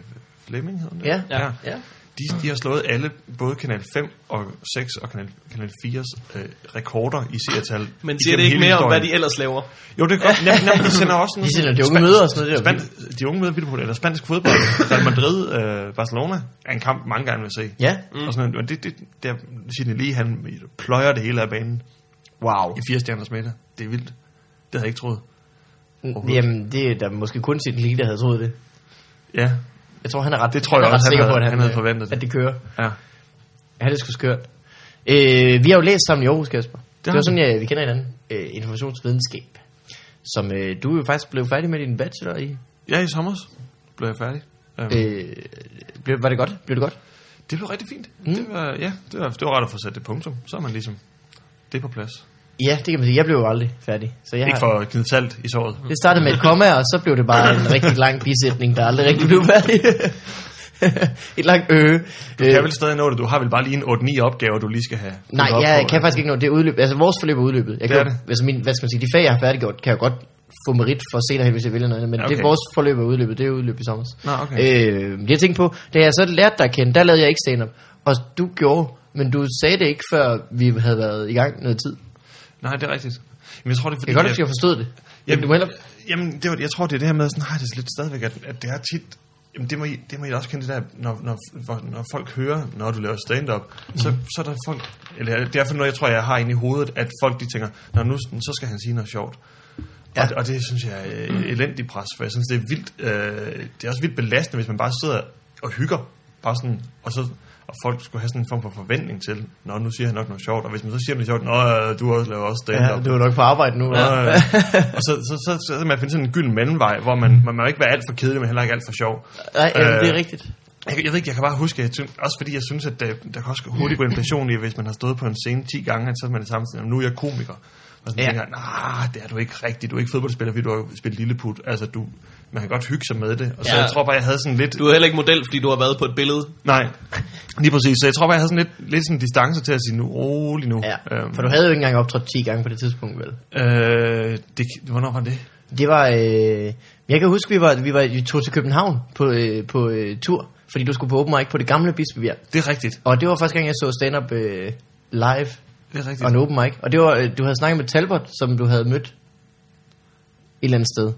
Fleming hed hun? det? Ja, ja, ja. De, de har slået alle, både Kanal 5 og 6 og Kanal, Kanal 4's øh, rekorder i seertal. Men siger igennem det ikke hele mere om, historien. hvad de ellers laver? Jo, det er godt. Nem, nem, de sender også sådan De sender de unge møder og sådan noget, det er jo Span- de unge møder vildt på det. Eller spansk fodbold. Real Madrid, øh, Barcelona er en kamp, mange gerne vil se. Ja. Mm. Og sådan, noget. men det, det, der Sidney Lee, han pløjer det hele af banen Wow. i fire stjerners middag. Det er vildt. Det havde jeg ikke troet. Jamen, det er der måske kun sin lige, der havde troet det. Ja, Jeg tror, han er ret, Det tror han jeg er ret også, han sikker havde- på, at han, han havde øh, forventet det. At det kører. ja. Ja, det er sgu skørt. Øh, vi har jo læst sammen i Aarhus, Kasper. Det, har det var vi. sådan, jeg, vi kender hinanden. Øh, informationsvidenskab. Som øh, du jo faktisk blev færdig med din bachelor i. Ja, i sommer blev jeg færdig. Øhm, Øh, blev, var det godt? Blev det godt? Det blev rigtig fint. Mm. Det, var, ja, det, var, det var rart at få sat det punktum. Så er man ligesom, det er på plads. Ja, det kan man sige. Jeg blev jo aldrig færdig. Så jeg Ikke har, for at gnide salt i såret. det startede med et komma, og så blev det bare en rigtig lang bisætning, der aldrig rigtig blev færdig. et langt øh. Du kan vel stadig nå det. Du har vel bare lige en 8-9 opgaver, du lige skal have. Nej, fulgt op jeg på, kan eller? faktisk ikke nå det er udløb. Altså, vores forløb er udløbet. Jeg Det kan, er jo- Altså, min, hvad skal man sige, de fag, jeg har færdiggjort, kan jeg godt få merit for senere hen, hvis jeg vælger noget andet. Men okay. det, Okay. vores forløb er udløbet, det er udløbet i sommer. Nå, okay. Øh, det jeg tænkte på, da jeg så lærte dig at kende, der lavede jeg ikke stand-up. Og du gjorde, men du sagde det ikke, før vi havde været i gang noget tid. Jeg Nej, det er rigtigt. Men jeg tror, det er fordi... kan godt lide, at jeg forstod det. Jamen, du må hellere... jamen det var, jeg tror, det er det her med, sådan, nej, det er lidt stadigvæk, at, at det er tit... Jamen, det må, I, det må I da også kende det der, når, når, hvor- når folk hører, når du laver stand-up, mm. Mhm. så, så er der folk, eller det er i hvert fald noget, jeg tror, jeg har inde i hovedet, at folk de tænker, når nu, så skal han sige noget sjovt. Ja. Og, og det synes jeg er Mhm. øh, elendig pres, for jeg synes, det er vildt, øh, det er også vildt belastende, hvis man bare sidder og hygger, bare sådan, og så og folk skulle have sådan en form for forventning til, nå, nu siger han nok noget sjovt, og hvis man så siger noget sjovt, nå, øh, du også laver også stand-up. Ja, du er nok på arbejde nu. Ja. Ja. og så, så, så, så, så man finde sådan en gylden mellemvej, hvor man, man må ikke være alt for kedelig, men heller ikke alt for sjov. Nej, jamen, det er Øh, rigtigt. Jeg, jeg ved ikke, jeg kan bare huske, at jeg synes, også fordi jeg synes, at der, der kan også hurtigt gå inflation i, hvis man har stået på en scene 10 gange, at så er man det samme sådan, nu er jeg komiker. Og sådan Ja. ja. tænker, jeg, nej, det er du ikke rigtigt, du er ikke fodboldspiller, fordi du har spillet lilleput. Altså, du, man kan godt hygge sig med det. Og så Ja. ja. jeg tror bare, jeg havde sådan lidt... Du er heller ikke model, fordi du har været på et billede. Nej, lige præcis. Så jeg tror bare, jeg havde sådan lidt, lidt sådan en distance til at sige, nu rolig nu. øhm. Ja. For du havde jo ikke engang optrådt 10 gange på det tidspunkt, vel? øh, det, hvornår var det? Det var... Øh, jeg kan huske, vi var, vi var vi tog til København på, øh, på øh, tur, fordi du skulle på open mic på det gamle Bispebjerg. Det er rigtigt. Og det var første gang, jeg så stand-up øh, live Det er rigtigt. og en open mic. Og det var, øh, du havde snakket med Talbot, som du havde mødt et eller andet sted.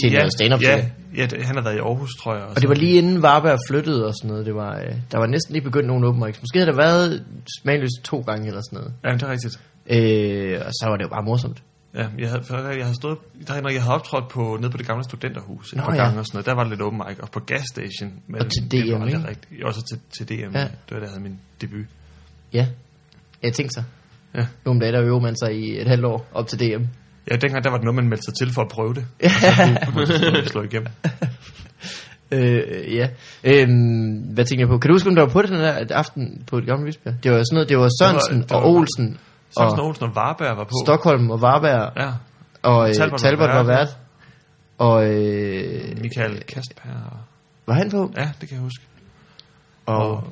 til noget stand-up ja, til ja, det- han har været i Aarhus, tror jeg. Og det var lige inden Varberg flyttede og sådan noget. Det var, øh, der var næsten lige begyndt nogle open mics. Måske havde der været smagløst to gange eller sådan noget. Ja, det er rigtigt. Øh, og så var det jo bare morsomt. Ja, jeg havde, for jeg havde stået, der Henrik, jeg havde optrådt på, nede på det gamle studenterhus et Nå, par ja. gange og sådan noget. Der var det lidt open mic, og på gas station. Men Og til det var DM, aldrig ikke? rigtigt. Også til, til DM. Ja. Ja. Det var der, jeg havde min debut. Ja. Jeg tænkte så. Ja. Nogle dage, der øver man sig i et halvt år op til DM. Ja, dengang der var det noget, man meldte sig til for at prøve det. Altså, Og så kunne man slå- slå igennem. Øh, ja. Øhm, hvad tænker jeg på? Kan du huske, om der var på den der aften på det gamle Visbjerg? Det var sådan noget, det var Sørensen det var- og Olsen Sørensen og Olsen og Varberg var på. Stockholm og Varberg Ja, og øh, Talbot var Talbot, var vært. vært. Og øh, Michael Kastper. var han på? Ja, det kan jeg huske. Og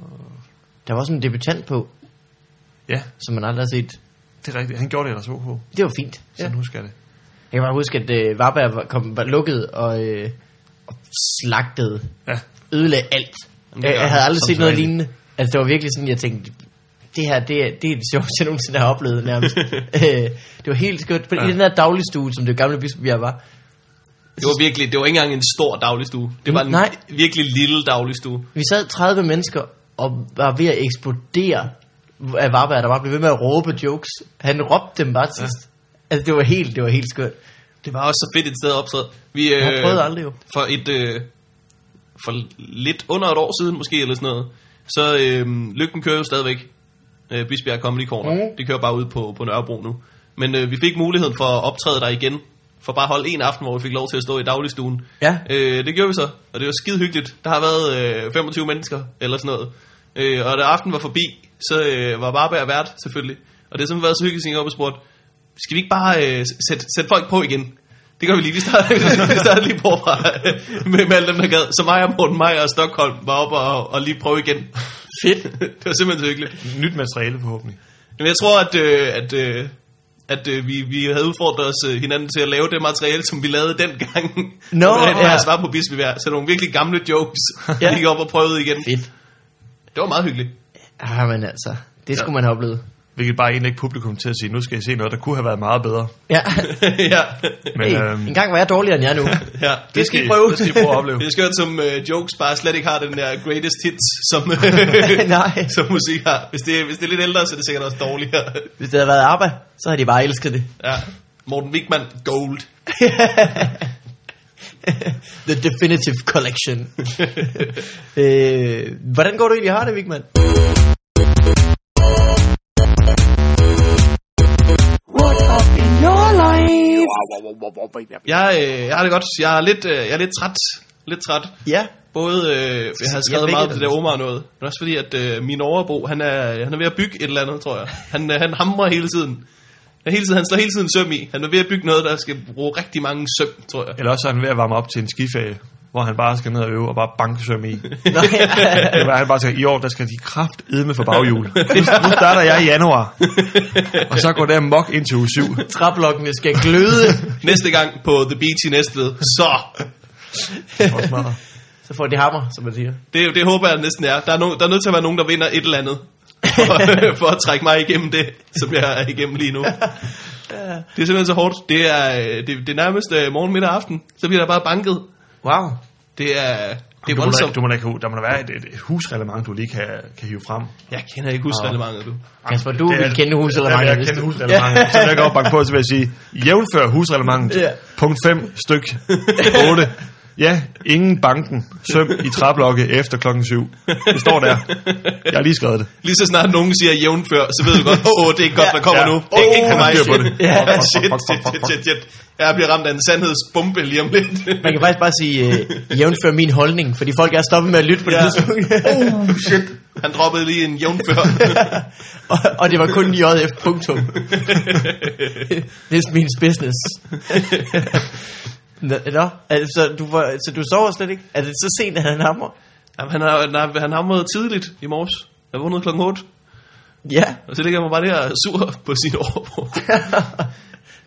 der var sådan en debutant på, Ja, som man aldrig har set. det er rigtigt. Han gjorde det ellers OK. Det var fint. Ja. Sådan husker jeg det. Jeg kan bare huske, at øh, Varberg var, kom, var lukket og, øh, og slagtede, Ja, ødelagde alt. det Jeg, gør jeg han, havde aldrig som set noget sædvanligt. lignende. Altså, det var virkelig sådan, jeg tænkte, det her, det er det, er det sjoveste, jeg nogensinde har oplevet nærmest. Øh, det var helt skørt. Ja. I Ja. den der dagligstue, som det gamle bispebjerg var. Det var virkelig, det var ikke engang en stor dagligstue. Det var en Nej. virkelig lille dagligstue. Vi sad 30 mennesker og var ved at eksplodere af Varberg, der bare blev ved med at råbe jokes. Han råbte dem bare til sidst. Altså, det var helt, det var helt skørt. Det var også så fedt et sted at optræde. Vi, øh, Jeg prøvede aldrig jo. for et øh, for lidt under et år siden måske eller sådan noget, så øh, Lygten kører jo stadigvæk øh, Bisbjerg Comedy Corner. Mhm. Det kører bare ud på, på Nørrebro nu. Men øh, vi fik muligheden for at optræde der igen. For bare at holde en aften, hvor vi fik lov til at stå i dagligstuen. Ja. Øh, det gjorde vi så, og det var skide hyggeligt. Der har været øh, 25 mennesker eller sådan noget. Øh, og da aftenen var forbi, så øh, var Barberg vært selvfølgelig. Og det har simpelthen været så hyggeligt, at jeg gik op og spurgte, skal vi ikke bare øh, sætte, sætte folk på igen? Det gør vi lige. Vi starter, vi starter lige forfra med, med alle dem, der gad. Så mig og Morten Meier og Stockholm var oppe og, og lige prøve igen. Fedt. det var simpelthen så hyggeligt. nyt materiale forhåbentlig. Men jeg tror, at, øh, at, øh, at øh, vi, vi havde udfordret os øh, hinanden til at lave det materiale, som vi lavede dengang. Nå, Som rent ja. faktisk var på Bispebjerg. Så nogle virkelig gamle jokes, Ja. ja. vi gik op og prøvede igen. Fedt. Det var meget hyggeligt. Ah, men altså, det skulle man have oplevet. Hvilket bare egentlig ikke publikum til at sige, nu skal I se noget, der kunne have været meget bedre. Ja. ja. Men hey, øhm, en gang var jeg dårligere end jer nu. ja. Det skal I prøve. Det skal I prøve at opleve. Det er skørt, som øh, jokes bare slet ikke har den der greatest hits, som, Nej. som musik har. Hvis det, hvis det er lidt ældre, så er det sikkert også dårligere. Hvis det havde været ABBA, så havde de bare elsket det. ja. Morten Wigman, Gold. The Definitive Collection. øh, hvordan går du egentlig har det, Vigman? What up in your life? Jeg, øh, jeg har det godt. Jeg er lidt, øh, jeg er lidt træt. Lidt træt. Ja. Både, øh, jeg har Jeg skrevet meget om vækkede det dig. der Omar noget, men også fordi, at øh, min overbo, han er, han er ved at bygge et eller andet, tror jeg. Han, øh, han hamrer hele tiden. Han, hele tiden. han slår hele tiden søm i. Han er ved at bygge noget, der skal bruge rigtig mange søm, tror jeg. Eller også er han ved at varme op til en skiferie, hvor han bare skal ned og øve og bare banke søm i. Nå, ja. Eller han bare siger, i år, der skal de kraft edme for baghjul. Nu, nu starter jeg i januar, og så går der mok ind til uge 7. Træblokkene skal gløde. Næste gang på The Beach i Næstved, så... så får de hammer, som man siger. Det, det håber jeg næsten er. Der er, no, der er nødt til at være nogen, der vinder et eller andet. For, for at trække mig igennem det, som jeg er igennem lige nu. Det er simpelthen så hårdt. Det er, øh, det, det er nærmest øh, morgen, middag og aften. Så bliver der bare banket. Wow. Det er, det Det du må er da, voldsomt. du må da, kunne- der må da være et, et, et husreglement, du lige kan, kan hive frem. Jeg kender ikke husreglementet, du. Kasper, du Det er- vil kende Ja, husreglementet, jeg hvis kender du- husreglementet. Ja. Så når jeg går op og banker på, så vil jeg sige, jævnfør husreglementet, Ja. punkt 5, styk 8. Ja, ingen banken, søm i træblokke efter klokken 7. Det står der. Jeg har lige skrevet det. Lige så snart nogen siger jævnfør, så ved du godt, åh, oh, det er ikke godt, der kommer Ja. nu. Ja. Ikke, ikke for Åh, mig. styr på det. Ja, Fuck, fuck, shit, fuck, shit, fuck, shit, fuck. shit, shit. Jeg bliver ramt af en sandhedsbombe lige om lidt. Man kan faktisk bare sige, øh, jævnfør min holdning, fordi folk er stoppet med at lytte på det Ja. tidspunkt. shit. Han droppede lige en jævnfør. og, og det var kun JF, punktum. This means business. Nå, nå, altså, du, var, så du sover slet ikke? Er det så sent, at han hammer? Jamen, han, har, han, har, han hamrede tidligt i morges. Jeg vågnede klokken 8, Ja, og så ligger jeg mig bare der sur på sin overbrug.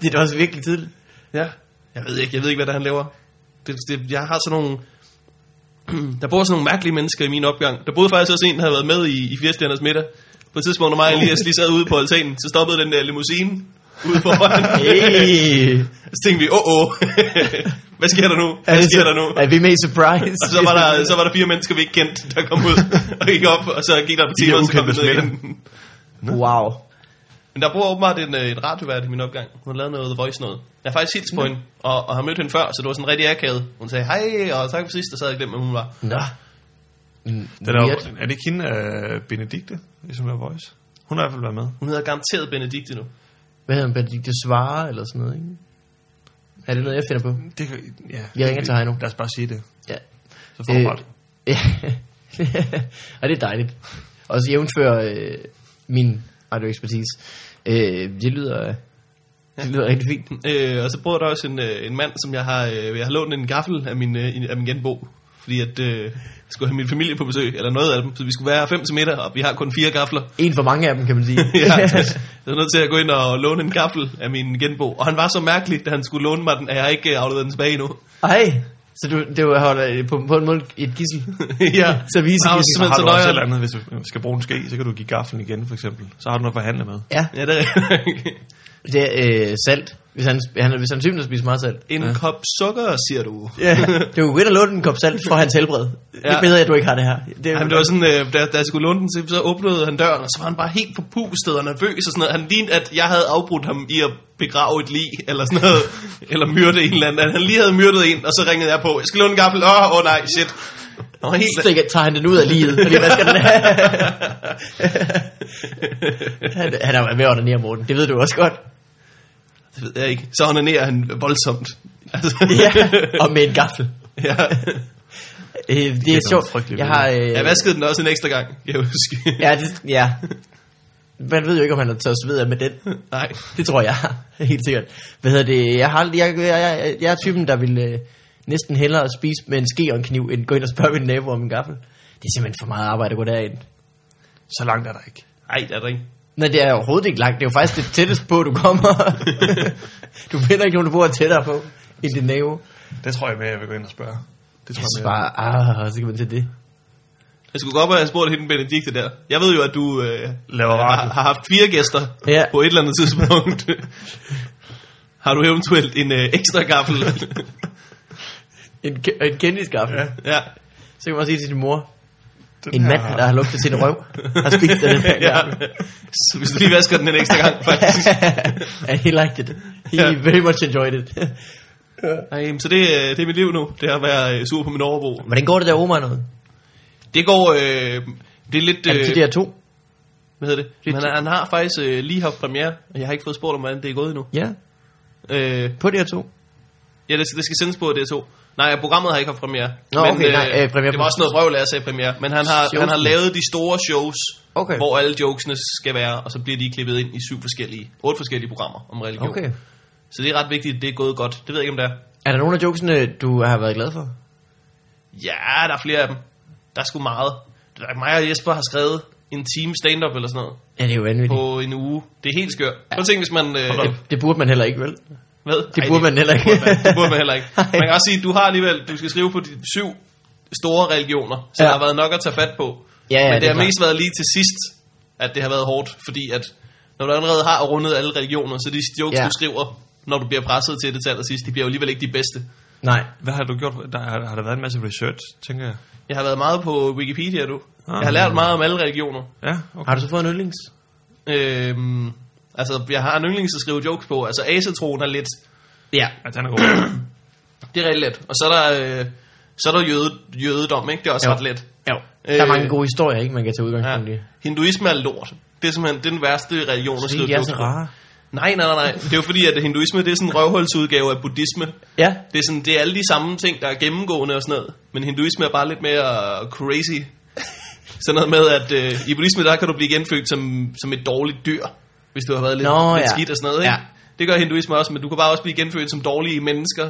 det er da også virkelig tidligt. Ja. Jeg ved ikke, jeg ved ikke, hvad det er, han laver. Det, det, jeg har sådan nogle... Der bor sådan nogle mærkelige mennesker i min opgang. Der boede faktisk også en, der havde været med i, i Firestjerners middag. På et tidspunkt, når mig og Elias lige sad ude på altanen, så stoppede den der limousine ude foran. Hey. Så tænkte vi, åh, oh, åh. hvad sker der nu? Hvad Altså, sker der nu? Er vi med i surprise? Og så var, der, så var der fire mennesker, vi ikke kendte, der kom ud og gik op, og så gik der på De timer, der og så kom ukendte de ned smitter. igen. Wow. Men der bor åbenbart en, øh, et radiovært i min opgang. Hun lavede noget The Voice noget. Jeg har faktisk hilst på hende, og, og har mødt hende før, så det var sådan rigtig akavet. Hun sagde, hej, og tak for sidst, og så havde jeg glemt, hvem hun var. Nå. Den er, jo, er det ikke hende, uh, Benedikte, som er voice? Hun har i hvert fald været med. Hun hedder garanteret Benedikte nu. Hvad hedder han? Benedikte Svare eller sådan noget, ikke? Er det noget, jeg finder på? Det, kan- ja, Vi ringer til Heino. Lad os bare sige det. Ja. Så får øh. ret. ja. og det er dejligt. Og så jævnfører øh, min radioekspertise. Øh, det lyder... Det lyder rigtig fint. Øh, og så bor der også en, øh, en mand, som jeg har, øh, jeg har lånt en gaffel af min, øh, en- af min genbo. Fordi at, øh, jeg skulle have min familie på besøg, eller noget af dem. Så vi skulle være fem til middag, og vi har kun fire gafler. En for mange af dem, kan man sige. ja, jeg var nødt til at gå ind og låne en gaffel af min genbo. Og han var så mærkelig, da han skulle låne mig den, at jeg har ikke øh, afleveret den tilbage endnu. Ej, så du, det var holder på, på en måde et gissel. ja. Så vise Han var gissel. simpelthen Har du også så et nøjeren. eller andet, hvis du skal bruge en ske, så kan du give gaflen igen, for eksempel. Så har du noget at forhandle med. Ja, Ja, det er det er øh, salt. Hvis han, han, hvis han synes at spise meget salt. En ja. kop sukker, siger du. Ja, det er jo at låne en kop salt for hans helbred. Ja. Det Ja. er bedre, at du ikke har det her. Det er, Jamen, det var sådan, øh, da, da jeg skulle låne den, så, så åbnede han døren, og så var han bare helt forpustet og nervøs og sådan noget. Han lignede, at jeg havde afbrudt ham i at begrave et lig, eller sådan noget, eller myrde en eller anden. At Han lige havde myrdet en, og så ringede jeg på, jeg skal låne en gaffel, åh, åh nej, shit. Han var helt... stikker, tager han den ud af livet, fordi hvad skal den have? han, han er ved at ordinere, Morten. Det ved du også godt. Det ved jeg ikke. Så onanerer han voldsomt. Altså, Ja, og med en gaffel. ja. Øh, det, er nogle sjovt. frygtelige Jeg har... Øh, Jeg vaskede den også en ekstra gang, kan jeg huske. ja, det, ja. Man ved jo ikke, om han har tørret sved af med den. Nej. Det tror jeg, helt sikkert. Hvad hedder det? Jeg, har, aldrig- jeg, jeg, jeg, jeg er typen, der vil øh, næsten hellere spise med en ske og en kniv, end gå ind og spørge min nabo om en gaffel. Det er simpelthen for meget arbejde at gå derind. Så langt er der ikke. Nej, det er der ikke. Nej, det er overhovedet ikke langt. Det er jo faktisk det tættest på, du kommer. du finder ikke nogen, der bor tættere på end din nabo. Det tror jeg mere, jeg vil gå ind og spørge. Det tror Jeg jeg, synes mere. bare, ah, så kan man til det. Jeg skulle godt have spurgt hende Benedikte der. Jeg ved jo, at du øh, Laver har, radio. har haft fire gæster Ja. ja. på et eller andet tidspunkt. har du eventuelt en øh, ekstra gaffel? En, ke- en kendisgaffel. Ja. Ja. ja. Så kan man også sige til din mor, Den en her- mand, der har lugtet sin røv, har spist af den her ja. gaffel. Så hvis du lige vasker den en ekstra gang, faktisk. And he liked it. He Ja. very much enjoyed it. Ej, men så det, øh, det er mit liv nu. Det er at være øh, sur på min overbo. Hvordan går det der Omar noget? Det går... Øh, det er lidt... Er det Øh, til DR2? hvad hedder det? Men han, han har faktisk øh, lige haft premiere, og jeg har ikke fået spurgt om, hvordan det er gået endnu. Ja, Øh, på DR2. Ja, det, det skal sendes på DR2. Nej, programmet har ikke haft premiere. Nå, okay, nej, øh, premiere det på- var også noget vrøvl, at jeg sagde premiere. Men han har, Shows. han har lavet de store shows, Okay. hvor alle jokesene skal være, og så bliver de klippet ind i syv forskellige, otte forskellige programmer om religion. Okay. Så det er ret vigtigt, at det er gået godt. Det ved jeg ikke, om det er. Er der nogen af jokesene, du har været glad for? Ja, der er flere af dem. Der er sgu meget. Det er mig og Jesper har skrevet en time stand-up eller sådan noget Ja, det er jo vanvittigt. på en uge. Det er helt skørt. Prøv at tænke, hvis man... Øh, Det, det burde man heller ikke, vel? hvad? Det Ej, burde man heller ikke. Det burde man heller ikke. Nej. Man kan også sige, at du har alligevel, du skal skrive på de syv store religioner, Ja. så ja. der har været nok at tage fat på. Ja, ja, Men det det er har klart. mest været lige til sidst, at det har været hårdt, fordi at når du allerede har rundet alle religioner, så de jokes, Ja. ja. du skriver, når du bliver presset til det til allersidst, de bliver jo alligevel ikke de bedste. Nej. Hvad har du gjort? Der, har, har der været en masse research, tænker jeg? Jeg har været meget på Wikipedia, du. Jeg har Ah. lært meget om alle religioner. Ja, okay. Har du så fået en yndlings? Øhm, altså, jeg har en yndlings at skrive jokes på. Altså, asetroen er lidt... Ja. Ja, den er god. Det er rigtig let. Og så er der, øh, så er der jøde, jødedom, ikke? Det er også Jo. jo. ret let. Jo. Der er Øh, mange gode historier, ikke, man kan tage Ja. udgangspunkt i. Hinduisme er lort. Det er simpelthen det er den værste religion at Fordi skrive de er så jokes på. rare. Nej, nej, nej, nej. Det er jo fordi, at hinduisme det er sådan en røvhulsudgave af buddhisme. Ja. Det er, sådan, det er alle de samme ting, der er gennemgående og sådan noget. Men hinduisme er bare lidt mere øh, crazy. Sådan noget med, at øh, i buddhisme, der kan du blive genfødt som, som et dårligt dyr, hvis du har været lidt, Nå, lidt ja. skidt og sådan noget. Ikke? Ja. Det gør hinduisme også, men du kan bare også blive genfødt som dårlige mennesker.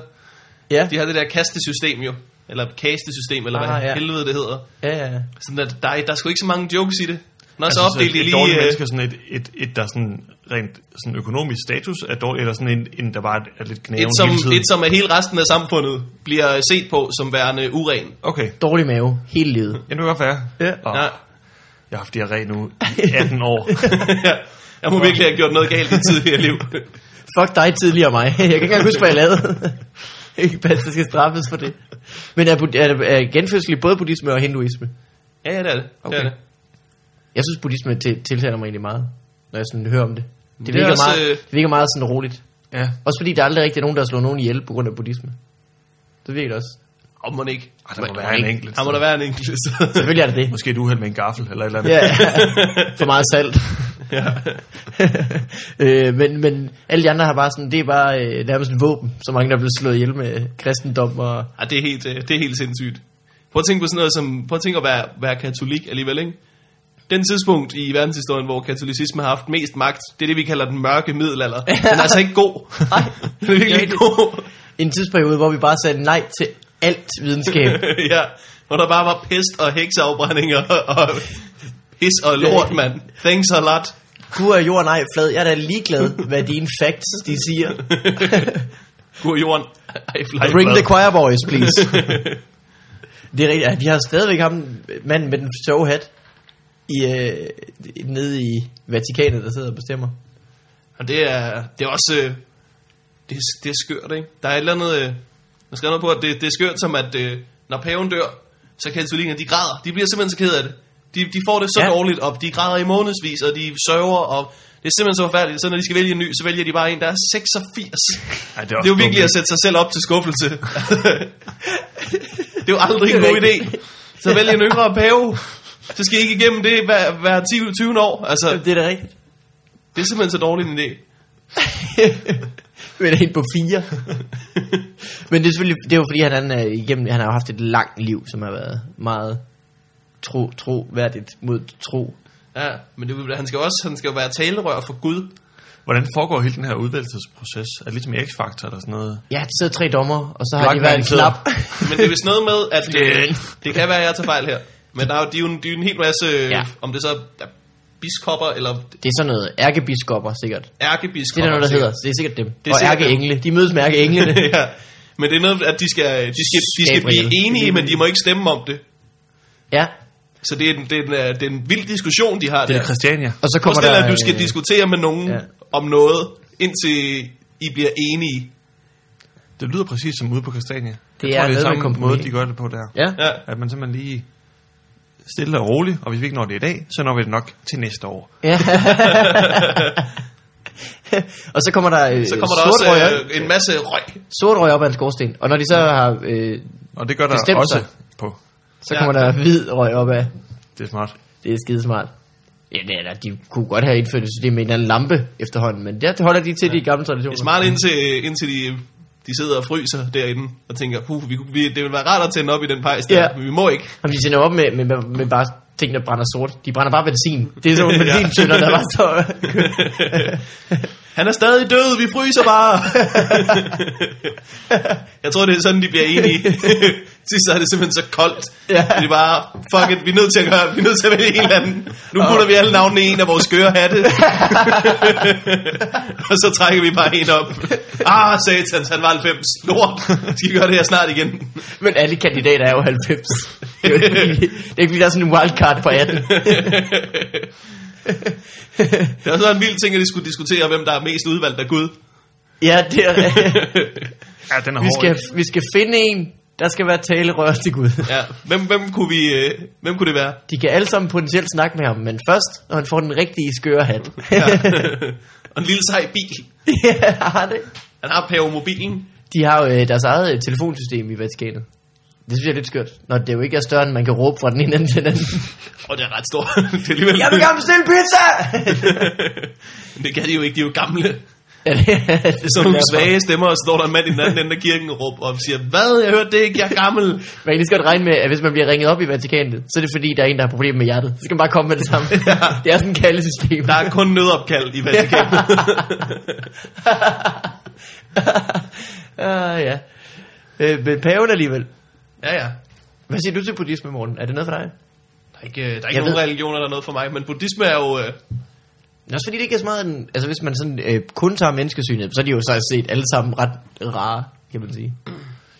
Ja. De har det der kastesystem jo, eller kastesystem, eller Ah, hvad ja. helvede det hedder. Ja, ja, ja. Sådan at der, er- der er sgu ikke så mange jokes i det. Nå, så Altså, opdelte et, de et lige... dårligt øh, menneske er sådan et, et, et der er sådan rent sådan økonomisk status er dårligt, eller sådan en, en der bare er lidt knæven Et som, hele tiden. et som af hele resten af samfundet bliver set på som værende uren. Okay, Dårlig mave hele livet. ja, det kan godt være. Ja. Og, Ja. Jeg har haft diarré nu i 18 år. Jeg må virkelig have gjort noget galt i tidligere liv. Fuck dig tidligere mig. Jeg kan ikke engang huske, hvad jeg lavede. ikke passe, der skal straffes for det. Men er, bud- er, er genfødsel i både buddhisme og hinduisme? Ja, ja, det er det. Okay. Okay. det, er det. Jeg synes, buddhisme til, tiltaler mig egentlig meget, når jeg sådan hører om det. Det er virker, også, meget, øh, det virker meget sådan roligt. ja. Også fordi der aldrig rigtig er nogen, der har slået nogen ihjel på grund af buddhisme. Det virker det også. Om man ikke. Ej, der må være en enkelt. Der må der være en enkelt. Så. Selvfølgelig er det det. Måske et uheld med en gaffel eller et eller andet. Ja, for meget salt. øh, men, men alle de andre har bare sådan, det er bare øh, nærmest en våben, så mange der er blevet slået ihjel med kristendom og... Ja, det er helt, øh, det er helt sindssygt. Prøv at tænke på sådan noget som, prøv at tænke at være, være katolik alligevel, ikke? Den tidspunkt i verdenshistorien, hvor katolicisme har haft mest magt, det er det, vi kalder den mørke middelalder. Den er altså ikke god. Nej. Den er virkelig ikke god. En tidsperiode, hvor vi bare sagde nej til alt videnskab. ja, hvor der bare var pest og hekseafbrændinger og pis og lort, mand. Thanks a lot. Gud er jorden ej flad. Jeg er da ligeglad, hvad dine facts de siger. God jorden. Ej, fly Bring blad. the choir boys, please. det er rigtigt. Ja, de har stadigvæk ham, manden med den sjove hat, i, øh, nede i Vatikanet, der sidder og bestemmer. Og det er, det er også... øh, Det, er- det er skørt, ikke? Der er et eller andet... øh, Man skal noget på, at det, det er skørt som, at øh, når paven dør, så katolikkerne, de græder. De bliver simpelthen så ked af det. De, de får det så ja. Ja. dårligt, og de græder i månedsvis, og de sørger, og det er simpelthen så forfærdeligt. Så når de skal vælge en ny, så vælger de bare en, der er 86. Ej, Det er jo virkelig at sætte sig selv op til skuffelse. det er jo aldrig en Det er god idé. Så vælg en yngre pave. Så skal I ikke igennem det hver, hver 10, 20 år. Altså, Det er da rigtigt. det er simpelthen så dårlig en idé. Men helt på fire. Men det er selvfølgelig, det er jo fordi, han, han, er igennem, han har jo haft et langt liv, som har været meget tro, troværdigt mod tro. Ja, men det, er jo- han skal også han skal jo være talerør for Gud. Hvordan foregår hele den her udvælgelsesproces? Er det ligesom i X-Factor eller sådan noget? Ja, der sidder tre dommer, og så har de Blackman hver en sidder. knap. Men det er vist noget med, at Fjern. det, det kan være, at jeg tager fejl her. Men der er jo, de er jo, en, de er jo en hel masse, Ja. ja. om det så er biskopper eller Det er sådan noget ærkebiskopper, sikkert. Det ærkebiskopper. er der noget, der hedder. Det er sikkert dem. er og sikkert ærkeengle. De mødes med ærkeenglene. ja. Men det er noget, at de skal, de skal, de skal blive Gabriel. enige, men de må ikke stemme om det. ja. Så det er en, det er en, øh, det er en vild diskussion, de har Det der. er Christiania. Og så kommer Forestil dig, der... at du skal øh, diskutere med nogen ja. ja. om noget, indtil I bliver enige. Det lyder præcis som ude på Christiania. Det jeg er tror, noget det er med samme kompromis. måde, de gør det på der. Ja. Ja. At man simpelthen lige stille og roligt, og hvis vi ikke når det i dag, så når vi det nok til næste år. ja. og så kommer der, øh, Så kommer der sort, også røg, op- øh, en masse røg. sort røg op ad en skorsten. Og når de så har... Øh, Og det gør der Bestemt også sig. på. så Ja. kommer der hvid røg op ad. Det er smart. Det er skidesmart. Ja, det er, da- de kunne godt have indført et system med en eller anden lampe efterhånden, men der holder de til ja. de gamle Det traditioner. er smart indtil, øh, indtil de, de sidder og fryser derinde og tænker, puh, vi, kunne- vi, det ville være rart at tænde op i den pejs der, Ja. men vi må ikke. Jamen, de sender op med, med, med, med bare ting, der brænder sort. De brænder bare benzin. Det er sådan nogle Ja. benzintønder, der bare står... Han er stadig død, vi fryser bare. Jeg tror, det er sådan, de bliver enige. Sidst så er det simpelthen så koldt. Ja. Ja. De bare, fuck it, vi er nødt til at gøre, vi er nødt til at vælge en eller anden. Nu putter vi alle navnene i en af vores skøre hatte. og så trækker vi bare en op. Ah, satans, han var 90. Lort, skal vi gøre det her snart igen? Men alle kandidater er jo 90. Det er, jo ikke, fordi, det er ikke fordi, der er sådan en wildcard på 18. Det var sådan en vild ting, at de skulle diskutere, hvem der er mest udvalgt af Gud. Ja, det er, Ja, den er vi, hård. skal, vi skal finde en, der skal være talerør til Gud. Ja, hvem, hvem, kunne vi, øh, hvem kunne det være? De kan alle sammen potentielt snakke med ham, men først, når han får den rigtige skøre hat. Ja. og en lille sej bil. ja, har det. Han har pavemobilen. De har jo øh, deres eget øh, telefonsystem i Vatikanet. Det synes jeg er lidt skørt, når det jo ikke er større, end man kan råbe fra den ene ende til den anden. Og det er ret stort. det, er alligevel... Jeg vil gerne bestille pizza! Men det kan de jo ikke, de er jo gamle. ja, det, er- det er Så nogle derfor. svage stemmer, og så står der en mand i den anden ende af kirken og råber op og siger, hvad, jeg hørte det ikke, jeg er gammel. Man kan lige så godt regne med, at hvis man bliver ringet op i Vatikanet, så er det fordi, der er en, der har problemer med hjertet. Så skal man bare komme med det samme. Ja. Det er sådan et kaldesystem. Der er kun nødopkald i Vatikanet. uh, ja. Øh, men paven alligevel. ja, ja. Hvad siger du til buddhisme, Morten? Er det noget for dig? Der er ikke, øh, der er Jeg ikke nogen ved- religioner, der er noget for mig, men buddhisme er jo... Øh, Men også fordi det ikke er så meget en, Altså hvis man sådan øh, kun tager menneskesynet Så er de jo så set alle sammen ret rare Kan man sige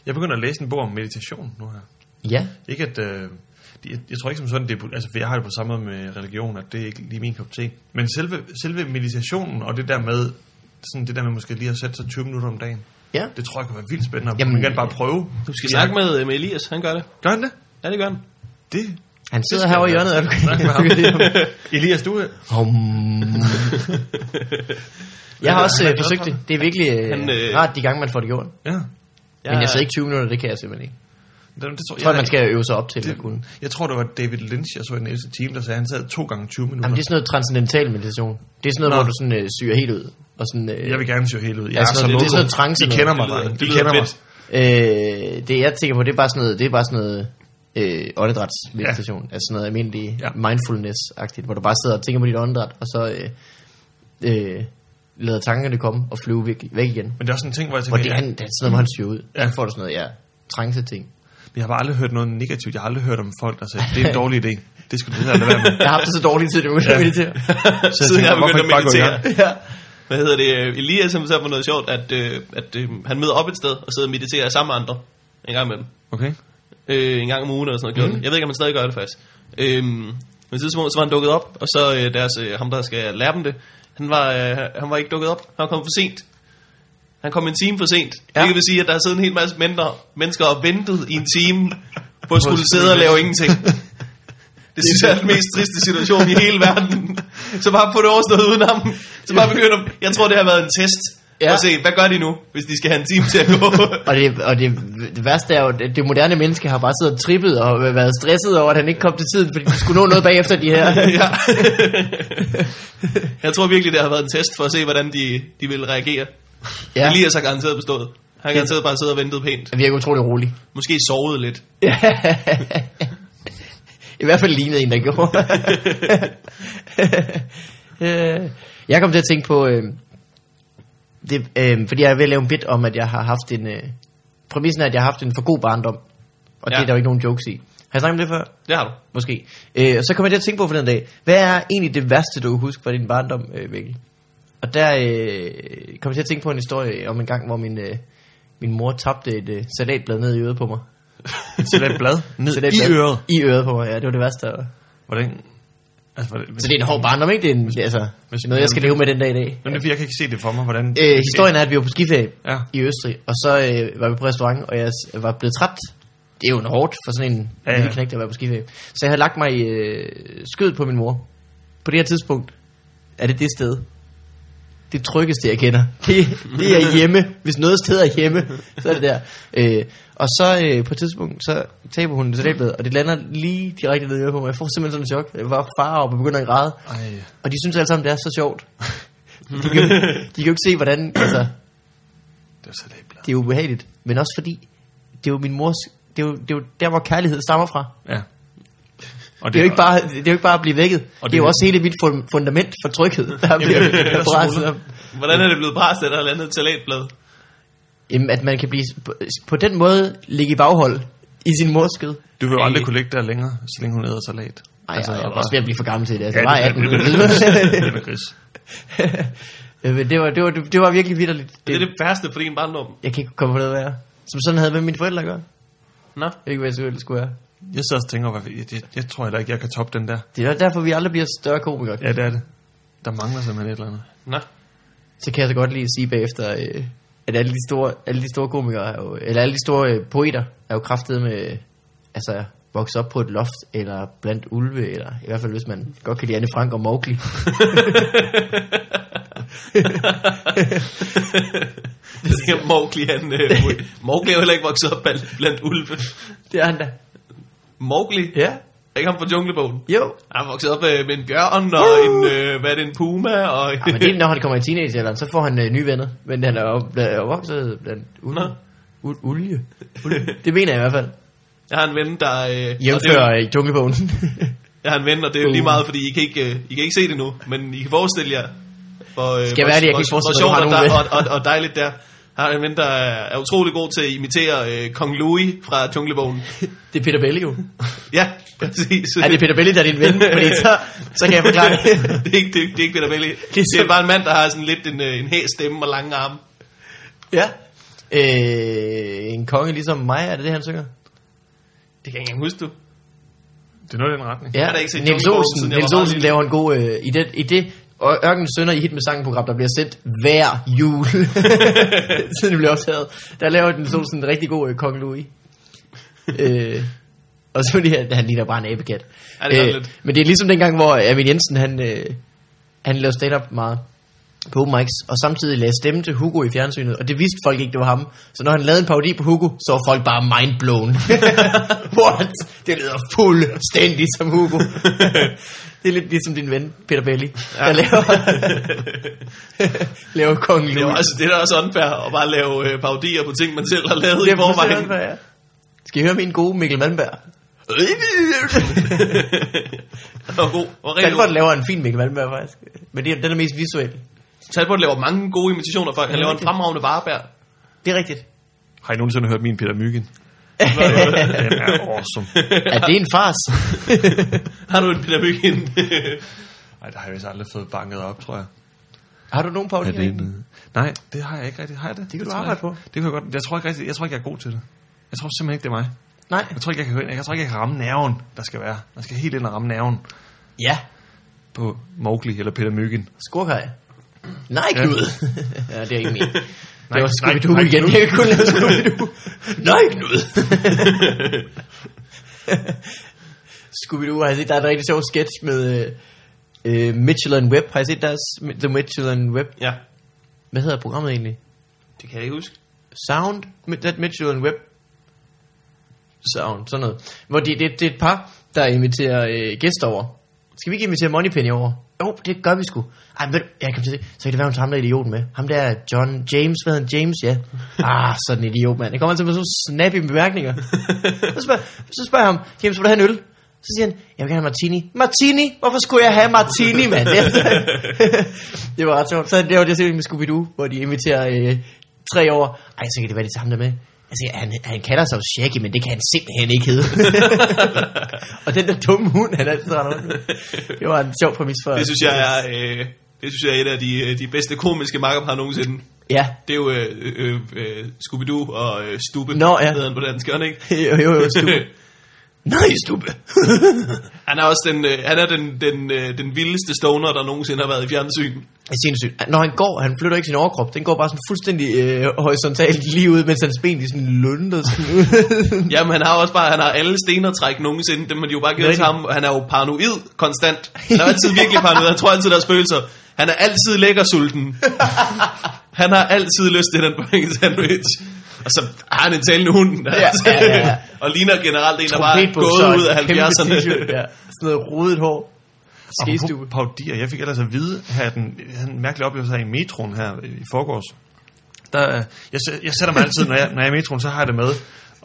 Jeg begynder at læse en bog om meditation nu her. Ja Ikke at... Øh, det- jeg, jeg tror ikke som sådan, det er, på- altså, for jeg har det på samme måde med religion, at det er ikke lige min kop te. Men selve, selve meditationen og det der med, sådan det der med måske lige at sætte sig 20 minutter om dagen, Ja det tror jeg kunne være vildt spændende. Jamen, Jamen, man kan bare prøve. du skal snakke med, øh, med Elias, han gør det. Gør han det? Ja, det gør han. Det. Han sidder herovre i hjørnet Er du Snak med ham. Elias, du er... Hum. Jeg har også øh, forsøgt det Det er virkelig øh, Han, øh, rart de gange man får det gjort Ja. Men jeg sidder ikke 20 minutter Det kan jeg simpelthen ikke Det, det tror, Jeg tror man skal øve sig op til det, at kunne Det, jeg tror, det var David Lynch, jeg så i den næste time, der sagde, at han sad to gange 20 minutter. Jamen, det er sådan noget transcendental meditation. Det er sådan noget, Nå. Nå. hvor du sådan, øh, syger helt ud. Og sådan, øh, Jeg vil gerne se helt ud. Jeg Altså, er så det- det er loco. sådan noget trance De noget. kender Det mig, lyder- drenge. det De lyder kender mig. fedt. øh, det jeg tænker på, det er bare sådan noget, det er bare sådan noget øh, åndedrætsmeditation. Ja. Altså sådan noget almindelig Ja. ja. mindfulness-agtigt, hvor du bare sidder og tænker på dit åndedræt, og så øh, øh, lader tankerne komme og flyve væk, væk igen. Men det er også sådan en ting, hvor jeg Hvor tænker, det, er, jeg, en- det er sådan noget, hvor han syger ud. Ja. Ja. Så får du sådan noget, ja, trance-ting. jeg har bare aldrig hørt noget negativt. Jeg har aldrig hørt om folk, der sagde, det er en dårlig idé. Det skal du lade være med. Jeg har haft det så dårligt til, det begyndte Ja. ja. meditere. Så jeg Siden tænker, jeg hvorfor ikke begyndte at bare gå i meditere. gang? ja. Hvad hedder det? øh, Elias han fortalte mig noget sjovt, at, øh, at øh, han møder op et sted og sidder og mediterer sammen med andre. En gang imellem. Okay. øh, en gang om ugen eller sådan noget. Mm. Jeg ved ikke, om man stadig gør det faktisk. Øhm, men på et tidspunkt, så var han dukket op, og så øh, deres, øh, ham, der skal lære dem det, han var, øh, han var ikke dukket op. Han kom for sent. Han kom en time for sent. Ja. Ja. Det vil sige, at der har siddet en hel masse mennesker, mennesker og ventet i en time på at skulle at sidde og skulle lave ingenting. Det synes jeg er den mest triste situation i hele verden. Så bare få det overstået uden ham. Så bare begynde at, Jeg tror, det har været en test. Ja. Ja. Og se, hvad gør de nu, hvis de skal have en time til at gå? Og, det, og det, det værste er jo, at det moderne menneske har bare siddet og trippet og været stresset over, at han ikke kom til tiden, fordi de skulle nå noget bagefter de her. ja. jeg tror virkelig, det har været en test for at se, hvordan de, de ville reagere. Ja. Ja, Elias har garanteret bestået. Han har garanteret bare siddet og ventet pænt. han virker utrolig rolig. Måske sovet lidt. I hvert fald lignede en, der gjorde. Øh, jeg kom til at tænke på, øh, det, øh, fordi jeg er ved at lave en bit om, at jeg har haft en, øh, præmissen er, at jeg har haft en for god barndom, og ja. det Ja. er der jo ikke nogen jokes i. Har jeg snakket om det før? Det har du. Måske. Øh, og så kom jeg til at tænke på for den dag, hvad er egentlig det værste, du kan huske fra din barndom, øh, Mikkel? Og der øh, kom jeg til at tænke på en historie om en gang, hvor min, øh, min mor tabte et øh, salatblad ned i øret på mig. Salat blad ned i Salatblad øret. I øret på mig, ja, det var det værste. Hvordan? Altså, hvordan? Så det er en hård barndom, ikke? Det er en, altså, hvis- noget, jeg skal leve med den dag i dag. Jamen, det er, fordi jeg kan ikke se det for mig, hvordan... Øh, historien er, at vi var på skiferie Ja. ja. i Østrig, og så øh, var vi på restaurant, og jeg s- var blevet træt. Det er jo en hårdt for sådan en ja, Ja, ja. lille knægt, der var på skiferie. Så jeg havde lagt mig i øh, skødet på min mor. På det her tidspunkt er det det sted, det tryggeste, jeg kender. Det, det er hjemme. Hvis noget sted er hjemme, så er det der. Øh, og så øh, på et tidspunkt, så taber hun det salatblad, og det lander lige direkte ned i øret på mig. Jeg får simpelthen sådan en chok. Jeg var far op og begynder at græde. Ej. Og de synes alle sammen, det er så sjovt. Du kan, de kan jo ikke se, hvordan... Altså, Det er salatblad. det er ubehageligt. Men også fordi, det er jo min mors... Det er jo, det er jo der, hvor kærlighed stammer fra. Ja. Og Det er jo ikke bare, det er jo ikke bare at blive vækket. Og det, er jo også hele mit fun- fundament for tryghed, der bliver presset op. Hvordan er det blevet brast, at der er landet et salatblad? Jamen, at man kan blive på, på den måde ligge i baghold i sin mors skød. Du vil jo aldrig Ej. kunne ligge der længere, så længe hun æder salat. Ej, Altså, altså, jeg og var bare- også ved at blive for gammel til det. Altså, Ja, ja, jeg det- var 18 Den er gris. Øh, Men det var, det var, det var virkelig vidderligt. Det er Det, det værste for din barndom. jeg kan ikke komme på noget værre. Som sådan havde med mine forældre at gøre. Nå. Jeg ved ikke, hvad jeg så ellers skulle være. Jeg sidder og tænker, hvad, jeg, jeg, jeg, tror heller ikke, jeg kan toppe den der. Det er derfor, vi aldrig bliver større komikere. Ja, det er det. Der mangler simpelthen et eller andet. Nå. så kan jeg så godt lige sige bagefter, øh, at alle de store, alle de store komikere, er jo, eller alle de store øh, poeter, er jo kraftet med, øh, altså vokset op på et loft, eller blandt ulve, eller i hvert fald hvis man godt kan lide Anne Frank og Mowgli. Det er Mowgli, han... Øh, Mowgli er jo heller ikke vokset op blandt, blandt ulve. Det er han da. Mowgli? Ja. Er ikke ham fra Junglebogen? Jo. Han er vokset op øh, med en bjørn og en... Øh, hvad er det, en puma og... Ja, men det er, når han kommer i teenagealderen, så får han øh, nye venner. Men han er jo bl- er jo vokset blandt ulve. Nå. Ul- ulje. ulje. Det mener jeg i hvert fald. Jeg har en ven, der... Øh, og det er jo- Jævnfører i junglebogen. Jeg har en ven, og det er jo lige Uh. meget, fordi I kan ikke, øh, I kan ikke se det nu, men I kan forestille jer, hvor, øh, Skal jeg være ærlig, jeg kan ikke forestille mig, hvor, at du sjovt har og, nogen dej- og, og, og dejligt der. Har en ven, der er er utrolig god til at imitere øh, Kong Louis fra Junglebogen. Det er Peter Belli jo. Ja, præcis. Er det Peter Belli, der er din ven? Fordi så, så kan jeg forklare det. det, er ikke, det, er- det er ikke Peter Belli. Det er er, så- bare en mand, der har sådan lidt en, øh, en hæs stemme og lange arme. Ja. Øh, en konge ligesom mig, er det det, han synger? Det kan jeg ikke engang huske, du. Det er noget i den retning. Ja, har da ikke set Niels Junglebogen, Olsen, siden jeg var Niels meget Olsen lille. laver en god... Øh, I det, i det og Ørken Sønder i hit med sangenprogram, der bliver sendt hver jul, siden det bliver optaget. Der laver Niels Olsen en rigtig god øh, Kong Louis. øh, og så det her, han ligner bare en abekat. Ja, det gør lidt. men det er ligesom dengang, hvor Armin Jensen, han, øh, han lavede stand-up meget på open mics, og samtidig lagde stemme til Hugo i fjernsynet, og det vidste folk ikke, det var ham. Så når han lavede en parodi på Hugo, så var folk bare mindblown. What? Det lyder fuldstændig som Hugo. det er lidt ligesom din ven, Peter Belli, ja. der laver, laver kongen Det er, Louis. også, det er da også unfair at bare lave øh, parodier på ting, man selv har lavet i forvejen. fuldstændig unfair, ja. Skal I høre min gode Mikkel Malmberg? og god. Og rigtig Danmark god. laver en fin Mikkel Malmberg, faktisk. Men det er, den er mest visuel. Talbot laver mange gode imitationer for. Han laver en fremragende varebær. Det er rigtigt. Har I nogensinde hørt min Peter Myggen? Den er awesome. Er det en fars? Har du en pædagogik ind? Nej, det har jeg vist aldrig fået banket op, tror jeg. Har du nogen Er parodier? det en, Nej, det har jeg ikke rigtig. Har jeg det? Det kan du tror jeg arbejde ikke. på. Det kan jeg godt. Jeg tror ikke rigtig, jeg tror ikke, jeg er god til det. Jeg tror simpelthen ikke, det er mig. Nej. Jeg tror ikke, jeg kan, gå ind- jeg tror ikke, jeg kan ramme nerven, der skal være. Man skal helt ind og ramme nerven Ja. på Mowgli eller Peter Myggen. Skurkej. Nej, Ja. Knud. Ja, det er ikke min. Nej, Det var nej, Scooby-Doo nej, igen. Knud. Jeg kan kun lave Scooby-Doo. Nej, Knud. Scooby-Doo har jeg set. Der er en rigtig sjov sketch med øh, øh, Mitchell and Webb. Har jeg set deres The Mitchell and Webb? ja, Hvad hedder programmet egentlig? det kan jeg ikke huske. Sound, Mi- that Mitchell and Webb. Sound, sådan noget. Hvor det, det, det er et par, der inviterer øh, gæster over. Skal vi ikke invitere Moneypenny over? Jo, det gør vi sgu. Ej, men ved du, jeg kan til, så kan det være, hun tager ham der idioten med. Ham der er John James, hvad hedder han? James, ja. Ah, sådan en idiot, mand. Det kommer altid med sådan nogle snappy bemærkninger. Så spørger, så spørger jeg ham, James, vil du have en øl? Så siger han, jeg vil gerne have martini. Martini? Hvorfor skulle jeg have martini, mand? Det, er- det var ret sjovt. Så det var det, jeg set med Scooby-Doo, hvor de inviterer øh, tre år. Ej, så kan det være, de tager ham der med. Altså, han, han kalder sig jo Shaggy, men det kan han simpelthen ikke hedde. og den der dumme hund, han altid render rundt med. Det var en sjov præmis for... Det synes jeg er... Øh, det synes jeg er et af de, øh, de bedste komiske makker, har nogensinde. Ja, Det er jo øh, øh, øh, Scooby-Doo og øh, Stube, Nå, ja. hedder han på dansk, gør han ikke? jo, jo, jo, stube. Nej, stube. han er også den, øh, han er den, den, øh, den vildeste stoner, der nogensinde har været i fjernsyn. Det er sindssygt. Når han går, han flytter ikke sin overkrop. Den går bare sådan fuldstændig øh, horisontalt lige ud, mens hans ben de sådan lunder sådan ud. Jamen, han har også bare, han har alle stenertræk nogensinde, dem har de jo bare givet Rigtig. til ham. Han er jo paranoid konstant. Han er jo altid virkelig paranoid, han tror altid, der er spøgelser. Han er altid lækker sulten. Han har altid lyst til den fucking sandwich. Og så har han en talende hund. Altså. ja, ja. og ligner generelt en, der bare er Trompetbukser og gået ud af en kæmpe 70'erne. t-shirt, Ja. Sådan noget rodet hår. Skestube. Apropos Paudier, jeg fik ellers at vide, her er den, han en mærkelig oplevelse her i metroen her i forgårs. Der, er- jeg, sæ- jeg sætter mig altid, når jeg, når jeg er i metroen, så har jeg det med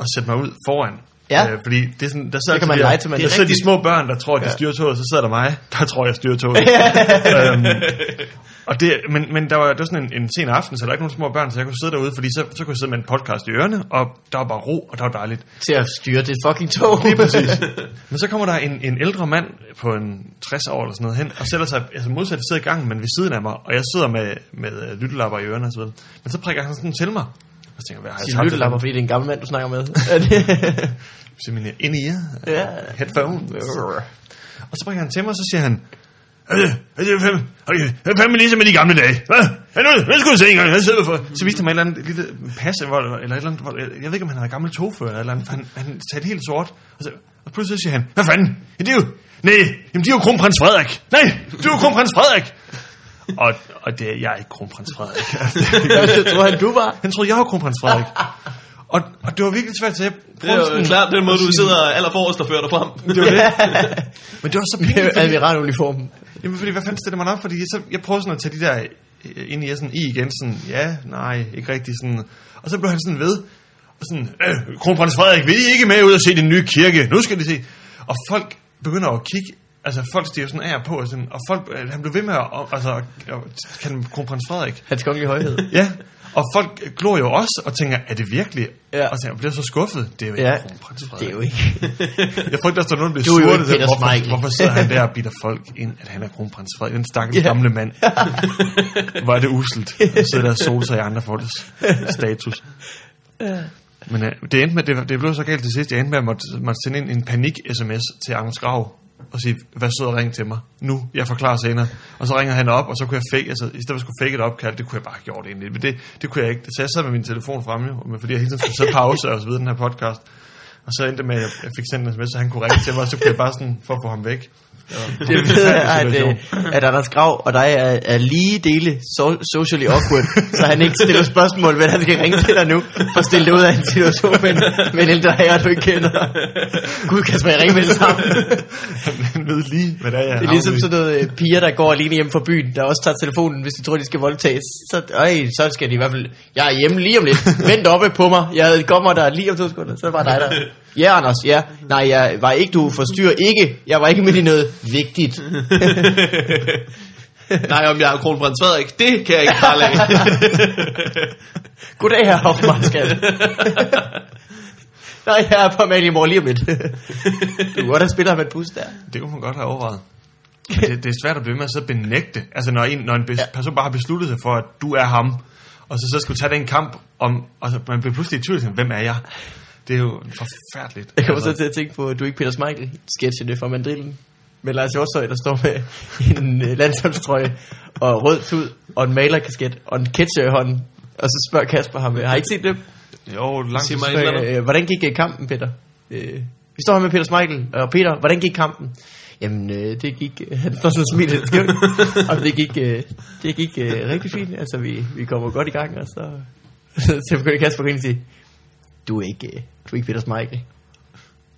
at sætte mig ud foran. Ja. Øh, fordi det er sådan, der sidder, kan man altid de- lege til, man- der Det er sidder de rigtigt. små børn, der tror, at de styrer toget, så sidder der mig, der tror, jeg styrer toget. øhm, og det, men, men der var, det var sådan en, en sen aften, så der var ikke nogen små børn, så jeg kunne sidde derude, fordi så, så kunne jeg sidde med en podcast i ørerne, og der var bare ro, og der var dejligt. Til at styre det fucking tog. Lige præcis. Men så kommer der en, en ældre mand på en 60 år eller sådan noget hen, og sætter sig altså modsat sidder i gangen, men ved siden af mig, og jeg sidder med, med øh, lyttelapper i ørerne og så videre. Men så prikker han sådan til mig, og så tænker jeg, hvad har jeg Sin tabt? lyttelapper, fordi det er en gammel mand, du snakker med. Så min ind i Øh, Ja. headphone. Øh. Og så prikker han til mig, og så siger han, "Er det- er det fem- okay, det er fandme ligesom i de gamle dage. Hvad? Ja, nu, nu skulle jeg se engang, hvad sidder vi for? Så viste han mig et eller andet lille pas, hvor, eller et eller andet, hvor, jeg ved ikke, om han havde gammel togfører eller et eller andet, for han, han talte helt sort. Og, så, og pludselig så siger han, hvad fanden? Ja, det er jo, nej, jamen, de er jo kronprins Frederik. Nej, du er jo kronprins Frederik. Og, og det er jeg er ikke kronprins Frederik. jeg tror han, du var. han troede, jeg var kronprins Frederik. Og, og det var virkelig svært, så jeg Det er jo klart den måde, du sidder aller forrest og fører dig frem. det var det. Men det var så Det er pinligt, jo fordi, Admiraluniformen. jamen, fordi hvad fanden stiller man op? Fordi så, jeg prøver sådan at tage de der øh, ind i jeg sådan i igen, sådan, ja, nej, ikke rigtig sådan. Og så blev han sådan ved, og sådan, øh, kronprins Frederik, vil I ikke med ud og se den nye kirke? Nu skal de se. Og folk begynder at kigge, altså folk stiger sådan af og på, og, sådan, og folk, øh, han blev ved med at, og- altså, at- at kalde ham kronprins Frederik. Hans kongelige højhed. Ja, Og folk glor jo også og tænker, er det virkelig? Ja. Ja. Og tænker, bliver så skuffet. Det er jo ikke Ja, ja. kronprins det er Frederik. jo ikke. Jeg frygter også, at nogen bliver Du er jo sure. ikke og siger, Peter Smeichel." hvorfor, hvorfor sidder han der og bitter folk ind, at han er kronprins Frederik? Den stakkels Ja. yeah. gamle mand. Hvor er det uselt. Og sidder der og soser i andre folks status. Men øh, det, endte med, det, det blev så galt til sidst. Jeg endte med at måtte, måtte sende en, en panik-sms til Anders Grav og sige, hvad sød og ring til mig nu, jeg forklarer senere. Og så ringer han op, og så kunne jeg fake, altså i stedet for at skulle fake et opkald, det kunne jeg bare have gjort egentlig, men det, det kunne jeg ikke. Det satte sig med min telefon fremme, jo, men fordi jeg hele tiden skulle sætte pause og så videre den her podcast. Og så endte det med, at jeg- jeg fik sendt en sms, så han kunne ringe til mig, og så kunne jeg bare sådan, for at få ham væk. Det ved jeg, at, øh, at Anders Grav og dig er, er lige dele so- socially awkward, så han ikke stiller spørgsmål, hvad han skal ringe til dig nu, for at stille dig ud af en situation med, en- med en ældre herre, du ikke kender. Gud, Kasper, jeg ringer med det samme. Han ved lige, hvad det er, jeg Det er ligesom sådan noget øh, piger, der går alene hjem fra byen, der også tager telefonen, hvis de tror, de skal voldtages. Så, øj, så skal de i hvert fald, jeg er hjemme lige om lidt, vent oppe på mig, jeg kommer der lige om to sekunder, så er det bare dig der. Ja, Anders, ja. Nej, jeg var ikke, du forstyrrer ikke, jeg var ikke midt i noget vigtigt. Nej, om jeg er kronprins Frederik, det kan jeg ikke bare lade. Goddag, herre Hoffmann, skat. Nej, jeg er på Amalienborg lige om lidt. du kan godt have spillet ham et pus der. Det kunne man godt have overvejet. Men det, det er svært at blive ved med at så benægte. Altså når en, når en bes, Ja. ja. person bare har besluttet sig for, at du er ham, og så, så skal du tage den kamp om, og så, man bliver pludselig i tvivl, sådan, hvem er jeg? Det er jo forfærdeligt. Jeg kommer så Altså, til at tænke på, at du er ikke Peter Smeichel, sketchen det fra Mandrillen. Med Lars Hjortøj, der står med en øh, landsholdstrøje og rød tud og en malerkasket og en ketcher i hånden. Og så spørger Kasper ham, øh, har I ikke set det? jo, langt Sig mig tilbage. et eller andet. Øh, hvordan gik øh, kampen, Peter? Øh, vi står her med Peter Smeichel, og Peter, hvordan gik kampen? Jamen, øh, det gik, øh, han står sådan og smiler lidt skævt, og det gik, øh, det gik øh, rigtig fint, altså vi, vi kommer godt i gang, og så, så begyndte Kasper at grine og sige, du er ikke, øh, du er ikke Peter Smeichel.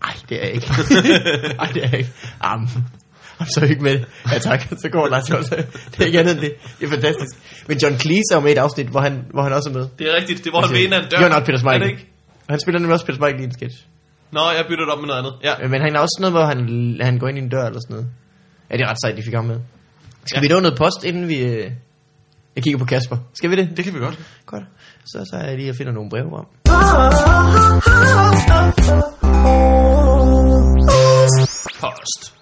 Nej, det er jeg ikke. Nej, det er jeg ikke. Am. I'm så ikke med det. Ja tak, så går Lars også. Det er ikke andet end det. Det er fantastisk. Men John Cleese er jo med i et afsnit, hvor han, hvor han også er med. Det er rigtigt, det er hvor han ved en af en dør. You're not Altså, Peter Er Smeichel. det ikke? Han spiller nemlig også Peter Smeichel i en sketch. Nå, jeg bytter det op med noget andet. Ja. Øh, Men han er også sådan noget, hvor han, han går ind i en dør eller sådan noget. Ja, det er ret sejt, de fik ham med. Skal ja. vi nå noget post, inden vi... Øh... Jeg kigger på Kasper. Skal vi det? Det kan vi godt. Godt. Så så jeg lige og finder nogle breve om. Post.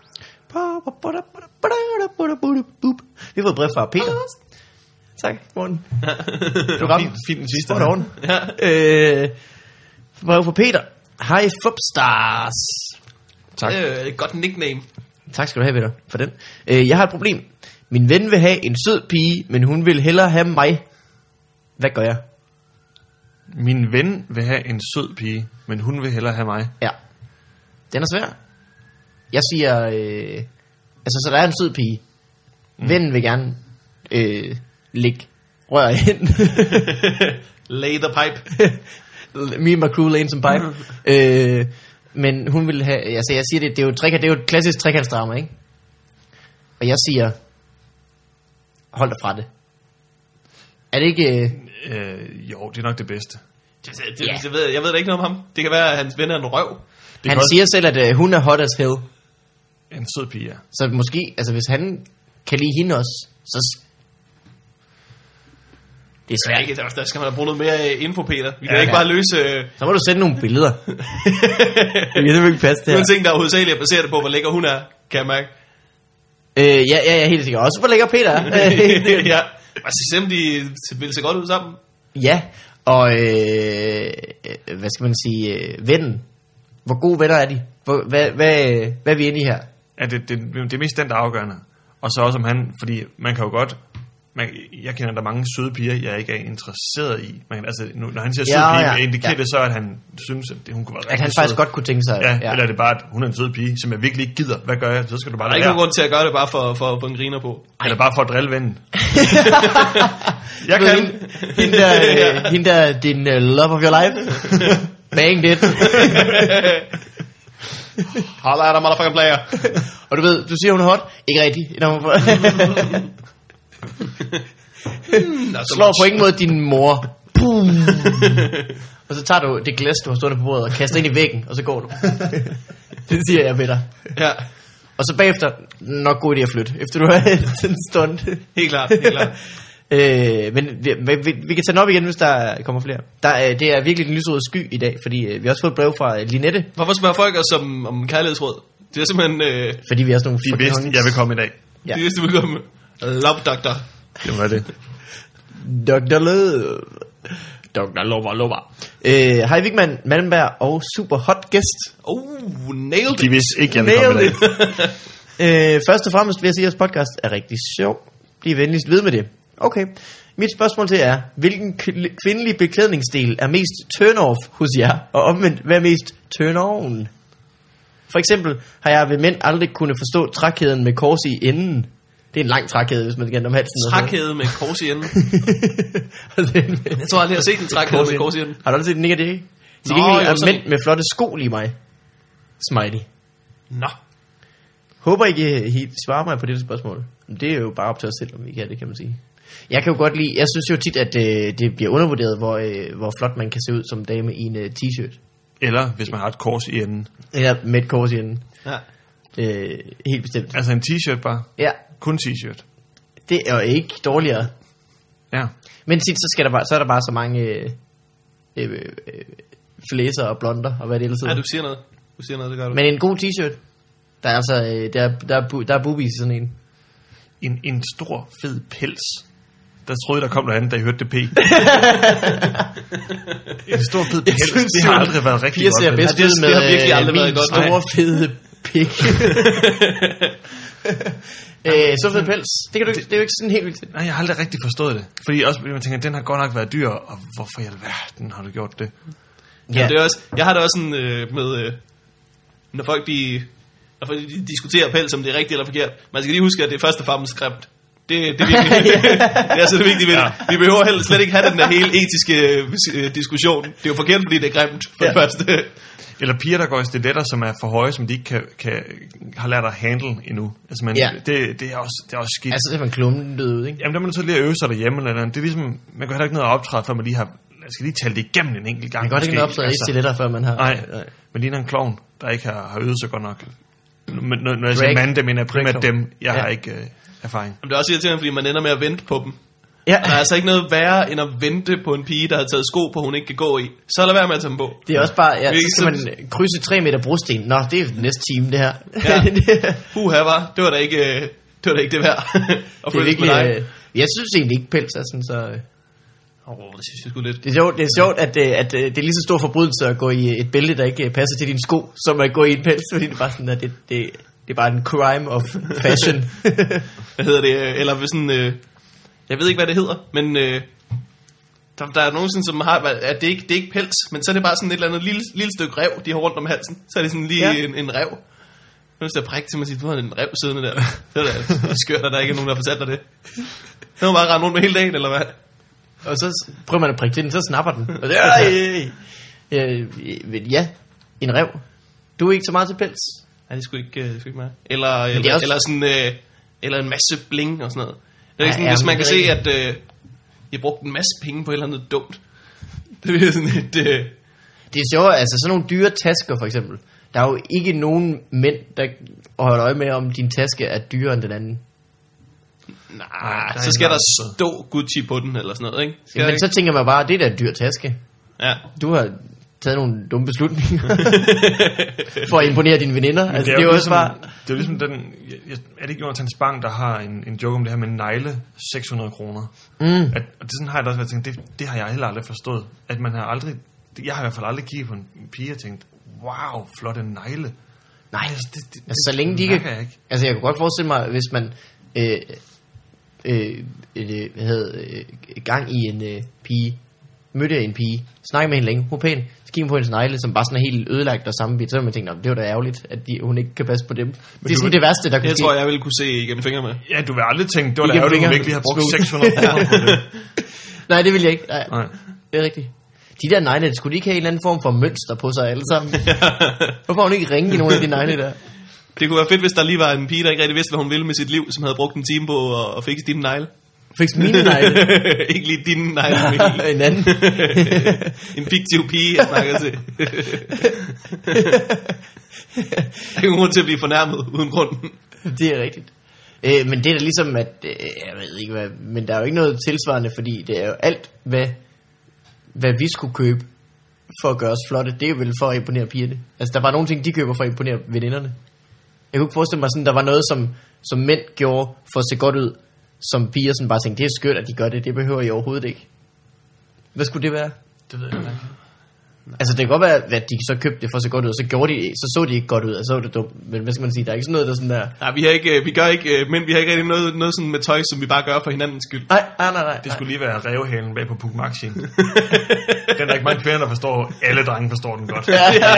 Vi har fået et brev fra Peter. Tak, Morten. Du ramte Fint, fint den sidste. Spot on. Øh, brev fra Peter. Hej, Fubstars. Tak. Det er et godt nickname. Tak skal du have, venner, for den. Øh, jeg har et problem. Min ven vil have en sød pige, men hun vil hellere have mig. Hvad gør jeg? Min ven vil have en sød pige, men hun vil hellere have mig. Ja. Den er svær. Jeg siger, øh, altså så der er en sød pige. Mm. Vennen vil gerne øh, ligge rør ind. Lay the pipe. Me and my crew lane som pipe. øh, men hun vil have, altså jeg siger det, det er jo, et trekant, det er jo et klassisk trekantsdrama, ikke? Og jeg siger, hold dig fra det. Er det ikke... Øh, Øh, jo, det er nok det bedste. Det, det, Ja. det, ved, jeg- jeg ved da ikke noget om ham. Det kan være, at hans ven er en røv. det han kan også- siger selv, at øh, hun er hot as hell. En sød pige, ja. Så måske, altså hvis han kan lide hende også, så... s- Det er Ja, svært. ikke, Altså, der, der skal man da bruge noget mere øh, info, Peter. Vi kan Ja, ikke ja. bare løse øh, Så må du sende nogle billeder. det vil ikke passe det nogle her. ting, der hovedsageligt er baseret på, hvor lækker hun er, kan jeg mærke. Øh, ja, ja, ja, helt sikkert. Også hvor lækker Peter er. Øh, ja. Altså, selvom de ville se godt ud sammen. ja, og øh, øh, hvad skal man sige, øh, vennen. Hvor gode venner er de? Hvor, hvad, hvad, øh, hvad er vi inde i her? at det, det, det er mest den, der er afgørende. Og så også om han, fordi man kan jo godt, man, jeg kender der mange søde piger, jeg ikke er interesseret i. Man, kan- altså, nu, når han siger sød Ja, pige, ja, ja, indikerer ja. det så, at han synes, at det, hun kunne være At han rigtig faktisk sød. godt kunne tænke sig... Ja, ja, eller er det bare, at hun er en sød pige, som jeg virkelig ikke gider. Hvad gør jeg? Så skal du bare Der lade er ikke være. nogen grund til at gøre det bare for, for at få en griner på. Eller bare for at drille vennen. jeg Du ved, kan. Hende, hende, der, øh, hende der, din uh, love of your life. Bang det. Holla er der motherfucking player. Og du ved, du siger, hun er hot. Ikke rigtigt. Når hun slår på ingen måde din mor. Boom. og så tager du det glas, du har stående på bordet, og kaster ind i væggen, og så går du. det siger jeg ved dig. Ja, Og så bagefter, nok god idé at flytte, efter du har den stund. helt klart, helt klart. Øh, men vi, vi, vi kan tage den op igen, hvis der kommer flere. Der, øh, det er virkelig den lyserøde sky i dag, fordi øh, vi har også fået et brev fra øh, Linette, Hvorfor spørger folk os om, om kærlighedsråd? Det er simpelthen... Øh, fordi vi er sådan nogle De fucking vidste, hunks. jeg vil komme i dag. Ja. ja. Det vidste, vi kom. Love doctor. Det var det. Dr. Lød. Dr. Lover, lover. Øh, Hej Vigman, Malmberg og super hot gæst. Oh, nailed De it. vidste ikke, jeg ville komme i Nailed it. dag. øh, først og fremmest vil jeg sige, at jeres podcast er rigtig sjov. Bliv venligst ved med det. Okay. Mit spørgsmål til er, hvilken kl- kvindelig beklædningsdel er mest turn-off hos jer? Og omvendt, hvad er mest turn-on? For eksempel har jeg ved mænd aldrig kunne forstå trækæden med kors i enden. Det er en lang trækæde, hvis man kan om halsen. og sådan noget. Trækæde med kors i enden. Altså, en- Jeg tror aldrig, jeg har set en trækæde med kors i enden. Har du aldrig set den ikke det? Til Nå, gengæld jo, er sådan- mænd med flotte sko lige mig. Smiley. Nå. Håber ikke I svarer mig på det spørgsmål. Men Det er jo bare op til os selv, om vi kan det, kan man sige. Jeg kan jo godt lide, jeg synes jo tit, at øh, det bliver undervurderet, hvor, øh, hvor flot man kan se ud som dame i en øh, t-shirt. Eller hvis man har et kors i enden. Eller med et kors i enden. Ja. Øh, helt bestemt. Altså en t-shirt bare. Ja, Kun t-shirt. det er jo ikke dårligere. Ja. Men tit, så, skal der bare, så er der bare så mange øh, øh, øh, flæser og blonder, og hvad det ellers ja, hedder. du siger noget. Du siger noget, det gør du. Men en god t-shirt. Der er altså, øh, der, er- der, er bu- der er boobies i sådan en. En, en stor, fed pels. Der troede jeg, der kom noget andet, da jeg hørte det P. en stor, fed pels. synes, det har det- aldrig været rigtig Piger godt. ser vel? bedst Ja, det- ud med det har virkelig øh, aldrig min været godt. store, fede pik. øh, så fed pels. Det, kan du, ikke- det er jo ikke sådan helt vildt. Nej, jeg har aldrig rigtig forstået det. Fordi også fordi man tænker, den har godt nok været dyr, og hvorfor i alverden har du gjort det? Ja. Det er også, jeg har det også sådan øh, med, øh, når folk de, når folk de diskuterer pels, om det er rigtigt eller forkert. Man skal lige huske, at det er først og fremmest grimt. Det, det, er virkelig, det er så det vigtige ved det. Vi behøver heller slet ikke have den der hele etiske øh, diskussion. Det er jo forkert, fordi det er grimt for ja. det Ja. første. Eller piger, der går i stiletter, som er for høje, som de ikke kan, kan, har lært at handle endnu. Altså, man, Ja. ja. det, det, er også, det er også skidt. Altså, det er man klummen død ud, ikke? Jamen, der er man nødt til lige at øve sig derhjemme eller noget. Det er ligesom, man kan heller ikke ned og optræde, før man lige har... Man skal lige tale det igennem en enkelt gang. Man kan godt ikke måske. nå optræde altså. i stiletter, før man har... Nej, man Øh, ligner en klovn, der ikke har, har øvet sig godt nok. Men når, når jeg siger Drag- mand, det mener jeg primært drag-klovn. dem. Jeg Ja. ja. har ikke øh, erfaring. Jamen, det er også irriterende, fordi man ender med at vente på dem. Ja, Der er altså ikke noget værre, end at vente på en pige, der har taget sko på, hun ikke kan gå i. Så lad være med at tage dem på. det er også bare... Ja, Det er så ikke skal man krydse 3 meter brosten. Nå, det er den næste time, det her. Ja. det, Puha, var. Det var da ikke øh, det, var da ikke det værd. det er virkelig... Øh, jeg synes egentlig ikke, pels er sådan så... Øh, Åh, det synes jeg sgu lidt. Det er sjovt, det er sjovt at, øh, at øh, det er lige så stor forbrydelse at gå i øh, et bælte, der ikke øh, passer til din sko, som at gå i en pels, fordi det er bare sådan, at det, det, det er bare en crime of fashion. hvad hedder det, øh, eller ved sådan, øh, jeg ved ikke, hvad det hedder, men øh, der, der er nogen, sådan, som har, hvad- at det, ikke, det er ikke pels, men så er det bare sådan et eller andet lille, lille stykke rev, de har rundt om halsen. Så er det sådan lige Ja. ja. en, en rev. Nu skal jeg prikke til mig og sige, du har en rev siddende der. Det er da skørt, at der ikke er nogen, der har fortalt dig det. Det må bare rende rundt med hele dagen, eller hvad? og så s- prøver man at prikke til den, så snapper den. Og det, ej, øh, øh, men ja, en rev. Du er ikke så meget til pels. Nej, det skulle ikke, øh, det er sgu ikke mig. Eller, eller, også- også... eller, sådan, øh, eller en masse bling og sådan noget. Det er ikke sådan, ja, ja, hvis men man det kan er se, at øh, jeg brugte en masse penge på et eller andet dumt. Det er sådan et... Øh, Det er sjovt, altså sådan nogle dyre tasker for eksempel. Der er jo ikke nogen mænd, der holder øje med, om din taske er dyrere end den anden. Nej, der er så en skal der lang tid. stå Gucci på den, eller sådan noget, ikke? Skal der Men ikke? så tænker man bare, det er da en dyr taske. Ja. du har taget nogle dumme beslutninger for at imponere dine veninder. Altså, det er jo også ligesom, bare... det er jo ligesom den... Jeg, jeg- er det ikke Jonathan Spang, der har en, en joke om det her med negle 600 kroner? Mm, At, og det sådan har jeg da også været tænkt, det, det har jeg heller aldrig forstået. At man har aldrig... det- Jeg har i hvert fald aldrig kigget på en pige og tænkt, wow, flotte negle. nej, Altså, det, det, altså, så længe de ikke... mærker jeg ikke. Altså, jeg kunne godt forestille mig, hvis man øh, øh, øh, hvad havde øh, gang i en øh, pige, mødte en pige, snakkede med hende længe, hun er pæn, så kiggede hun på hendes negle, som bare sådan er helt ødelagt og sammenbidt, så ville man tænkt, "Nå, det var da ærgerligt, at de, hun ikke kan passe på dem. det er du sådan kan- det værste, der kunne Det ske. tror jeg, jeg ville kunne se igennem fingre med. Ja, du vil aldrig tænke, det var da Igennem ærgerligt, at fingre. du virkelig har Smooth. brugt 600 kroner på det. Nej, det vil jeg ikke. Nej, Nej. det er rigtigt. De der negle, skulle de ikke have en eller anden form for mønster på sig alle sammen? Hvorfor har hun ikke ringe i nogle af de negle der? Det kunne være fedt, hvis der lige var en pige, der ikke rigtig vidste, hvad hun ville med sit liv, som havde brugt en time på at, at fikse dine negle. Fik mine negle. ikke lige dine negle, men helt en anden. en fiktiv pige, jeg snakker til. Der er ingen grund til at blive fornærmet uden grund. det er rigtigt. Øh, men det er da ligesom, at... Øh, jeg ved ikke hvad... Men der er jo ikke noget tilsvarende, fordi det er jo alt, hvad, hvad vi skulle købe for at gøre os flotte, det er jo vel for at imponere pigerne. Altså, der var nogle ting, de køber for at imponere veninderne. Jeg kunne ikke forestille mig, sådan, der var noget, som, som mænd gjorde for at se godt ud, som piger sådan bare tænkte, det er skønt, at de gør det, det behøver I overhovedet ikke. Hvad skulle det være? Det ved jeg ikke. Altså, det kan godt være, at de så købte det for at se godt ud, og så, gjorde de, så så de ikke godt ud, og så var det dumt. Men hvad skal man sige, der er ikke sådan noget, der sådan der... Nej, vi har ikke, øh, vi gør ikke, øh, men vi har ikke rigtig noget, noget sådan med tøj, som vi bare gør for hinandens skyld. Nej, nej, nej, nej. Det skulle lige være revhalen bag på Pugmaxien. den er der ikke mange kvinder, der forstår. Alle drenge forstår den godt. Ja, ja.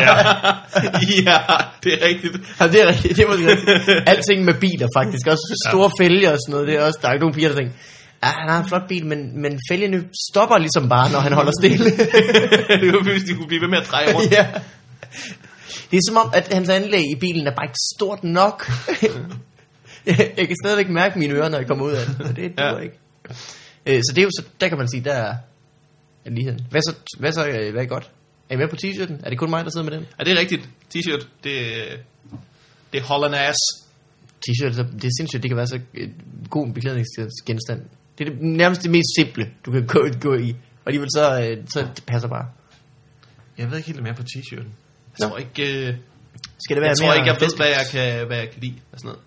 ja, det er rigtigt. Ja, det er rigtigt. Det er måske rigtigt. Alting med biler faktisk. Også store ja. fælge og sådan noget. Det er også, der er ikke nogen piger, der tænker, ja, han har en flot bil, men, men fælgene stopper ligesom bare, når han holder stille. det var hvis de kunne blive ved med at dreje rundt. ja. Det er som om, at hans anlæg i bilen er bare ikke stort nok. jeg, jeg kan stadigvæk mærke mine ører, når jeg kommer ud af den. og Det duer Ja. ja. ikke. Øh, Så det er jo så, der kan man sige, der er er ligheden. Hvad så, hvad så, øh, hvad er godt? Er I med på t-shirten? Er det kun mig, der sidder med den? Ja, det er rigtigt. T-shirt, det, øh, det er holland ass. T-shirt, så- det er sindssygt, det kan være så øh, god en beklædningsgenstand. Det er det, nærmest det mest simple, du kan gå, gå i. Og alligevel så, øh, så det passer bare. Jeg ved ikke helt mere på t-shirten. Jeg tror ikke, øh, Skal det være jeg, tror mere ikke, jeg ved, fest- hvad jeg kan, hvad jeg kan lide. Og sådan noget.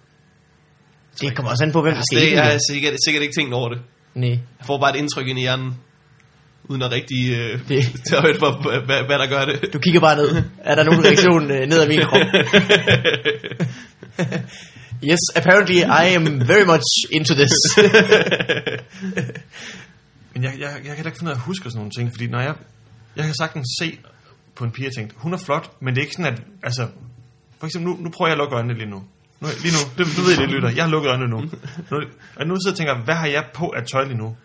Det kommer også an på, hvem der Altså, skal det, i jeg har det. sikkert, sikkert ikke tænkt over det. Nej. Jeg får bare et indtryk ind i hjernen, uden at rigtig øh, Det. tage højde for, hvad, hvad- hvad der gør det. Du kigger bare ned. Er der nogen reaktion øh, ned ad min krop? yes, apparently I am very much into this. Men jeg, jeg, jeg kan heller ikke finde ud af at huske sådan nogle ting, fordi når jeg, jeg kan sagtens se på en pige og tænke, hun er flot, men det er ikke sådan, at, altså, for eksempel nu, nu prøver jeg at lukke øjnene lige nu. nu lige nu, det, nu ved I det, lytter, jeg har lukket øjnene nu. nu og nu sidder jeg og tænker, hvad har jeg på at tøj lige nu?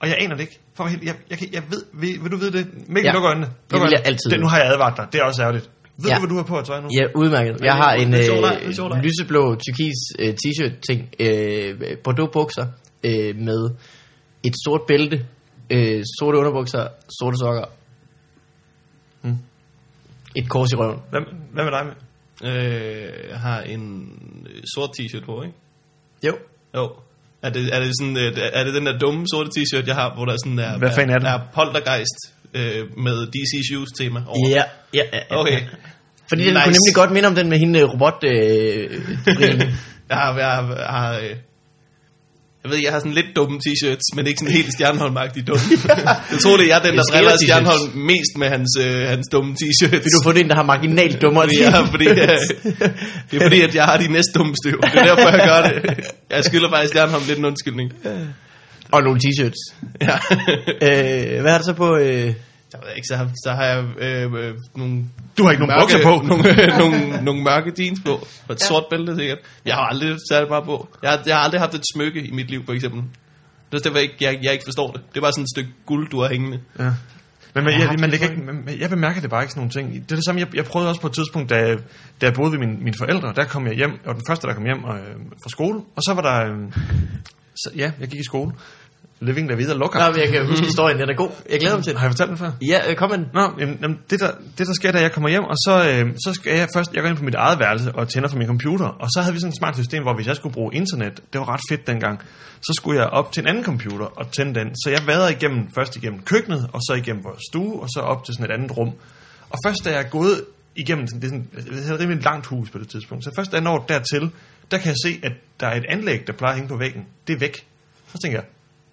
Og jeg aner det ikke. For at være helt- jeg, jeg, kan- jeg ved, vil, vil du vide det? Mikkel, Ja. ja. luk øjnene. Det vil jeg altid Det, nu vide. har jeg advaret dig, det er også ærgerligt. Ved Ja. ja. du, hvad du har på at tøj nu? Ja, udmærket. Jeg har en Det er sjovt, det er sjovt, det øh, er. lyseblå turkis øh, t-shirt ting, øh, bordeaux bukser øh, med et sort bælte, øh, sorte underbukser, sorte sokker. Hmm. Et kors i røven. Hvad, hvad med dig med? øh, jeg har en øh, sort t-shirt på, ikke? Jo. Jo. Er det, er det, sådan, øh, er det den der dumme sorte t-shirt, jeg har, hvor der sådan er, Hvad fanden er det? er poltergeist øh, med DC Shoes tema over? Ja, ja, ja, ja. Okay. Fordi den nice. kunne Nice. nemlig godt minde om den med hende øh, robot øh, friende. jeg har, jeg har, jeg har øh, jeg ved, jeg har sådan lidt dumme t-shirts, men ikke sådan helt stjernholm dumme. jeg tror, det er jeg, den, der Det er driller skære Stjernholm mest med hans, øh, hans dumme t-shirts. Vil du få den, der har marginalt dummere fordi, jeg, fordi, øh, det er fordi, at jeg har de næste dumme støv. Det er derfor, jeg gør det. Jeg skylder faktisk Stjernholm lidt en undskyldning. Og nogle t-shirts. Ja. Øh, hvad er der så på? Øh? Jeg ved ikke, så har, så har jeg øh, øh, nogle Du har ikke nogen bukser på. nogle, nogle, nogle mørke jeans på, og et ja. sort bælte sikkert. Jeg har aldrig særlig meget på. Jeg, har- jeg har aldrig haft et smykke i mit liv, for eksempel. Det er derfor, jeg, ikke- jeg, jeg ikke forstår det. Det er bare sådan et stykke guld, du har hængende. Ja. Men, men, Jeg jeg, har jeg, det man lægger ikke, men, men jeg bemærker det bare ikke sådan nogle ting. Det er det samme, jeg, jeg prøvede også på et tidspunkt, da, jeg- da jeg boede ved mine, mine forældre, der kom jeg hjem, og den første, der kom hjem og, øh, fra skole, og så var der, øh, så, ja, jeg gik i skole, living la vida loca. Nå, men jeg kan huske historien, den er god. Jeg glæder mig til den. Har jeg fortalt den før? Ja, øh, kom ind. Nå, jamen, jamen, det, der, det der sker, da jeg kommer hjem, og så, øh, så skal jeg først, jeg går ind på mit eget værelse og tænder for min computer, og så havde vi sådan et smart system, hvor hvis jeg skulle bruge internet, det var ret fedt dengang, så skulle jeg op til en anden computer og tænde den. Så jeg vader igennem, først igennem køkkenet, og så igennem vores stue, og så op til sådan et andet rum. Og først da jeg er gået igennem, sådan- det er sådan, det er et rimelig langt hus på det tidspunkt, så først da jeg når dertil, der kan jeg se, at der er et anlæg, der plejer at hænge på væggen. Det er væk. Så tænker jeg,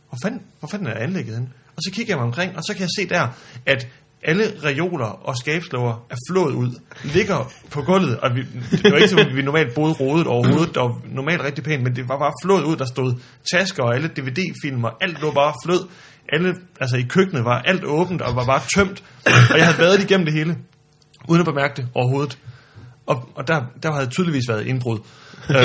hvor fanden, hvor fanden er anlægget henne? Og så kigger jeg mig omkring, og så kan jeg se der, at alle reoler og skabslåger er flået ud, ligger på gulvet, og vi, det var ikke som vi normalt boede rodet overhovedet, der var normalt rigtig pænt, men det var bare flået ud, der stod tasker og alle DVD-filmer, alt lå bare flød, alle, altså i køkkenet var alt åbent og var bare tømt, og jeg havde været igennem det hele, uden at bemærke det overhovedet. Og, og der, der havde tydeligvis været indbrud. Øhm,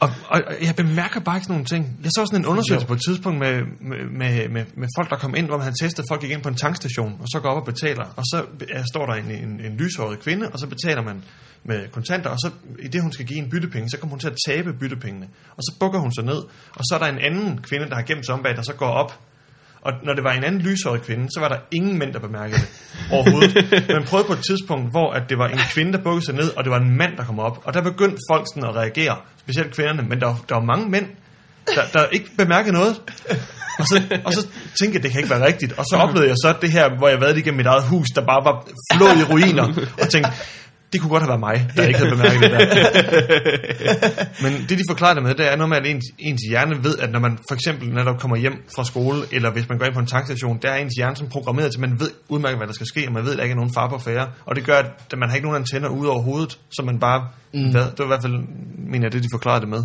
og, og, og jeg bemærker bare ikke sådan nogle ting. Jeg så sådan en undersøgelse på et tidspunkt med, med, med, med, med folk, der kom ind, hvor man havde testet, folk gik ind på en tankstation, og så går op og betaler, og så ja, står der en, en, en lyshåret kvinde, og så betaler man med kontanter, og så i det, hun skal give en byttepenge, så kommer hun til at tabe byttepengene. Og så bukker hun sig ned, og så er der en anden kvinde, der har gemt sig om bag, der så går op Og når det var en anden lyshåret kvinde, så var der ingen mænd, der bemærkede det overhovedet. Man prøvede på et tidspunkt, hvor at det var en kvinde, der bukkede sig ned, og det var en mand, der kom op. Og der begyndte folk sådan at reagere, specielt kvinderne, men der, var- der var mange mænd, der, der ikke bemærkede noget. Og så, og så tænkte jeg, det kan ikke være rigtigt. Og så oplevede jeg så det her, hvor jeg været igennem mit eget hus, der bare var flået i ruiner, og tænkte, det kunne godt have været mig, der ikke havde bemærket det der. Men det, de forklarer det med, det er noget med, at ens, ens hjerne ved, at når man for eksempel netop kommer hjem fra skole, eller hvis man går ind på en tankstation, der er ens hjerne som programmeret til, at man ved udmærket, hvad der skal ske, og man ved, at der ikke er nogen far på færre. Og det gør, at man har ikke nogen antenner ude over hovedet, så man bare... Mm. Hvad, det var i hvert fald, mener jeg, det de forklarede det med.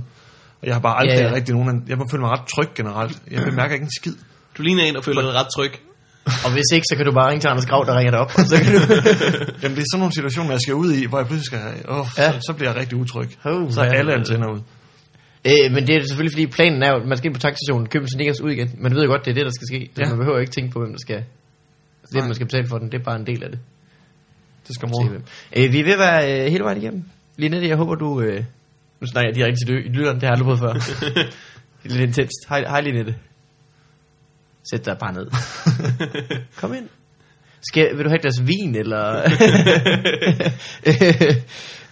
Og jeg har bare aldrig Ja, ja, ja. ja. rigtig nogen... an- Jeg må føle mig ret tryg generelt. Jeg bemærker ikke en skid. Du ligner en, der føler dig ret tryg. Og hvis ikke, så kan du bare ringe til Anders Grav, der ringer dig op. Så kan du... Jamen, det er sådan nogle situationer, jeg skal ud i, hvor jeg pludselig skal... Åh, Ja. ja. så, så, bliver jeg rigtig utryg. Oh, så er ja. alle antenner ud. Øh, men det er selvfølgelig, fordi planen er jo, at man skal ind på tankstationen, købe en sneakers ud igen. Man ved jo godt, det er det, der skal ske. Så Ja. man behøver ikke tænke på, hvem der skal... Hvem man skal betale for den, det er bare en del af det. Det skal Se, mor. hvem. Øh, vi er ved at være øh, hele vejen igennem. Linette, jeg håber, du... Øh, nu snakker jeg direkte til ly- lytteren, det har jeg aldrig prøvet før. Det er Lidt intenst. Hej, hej Linette. Sæt dig bare ned. Kom ind. Skal, vil du have et glas vin, eller... øh,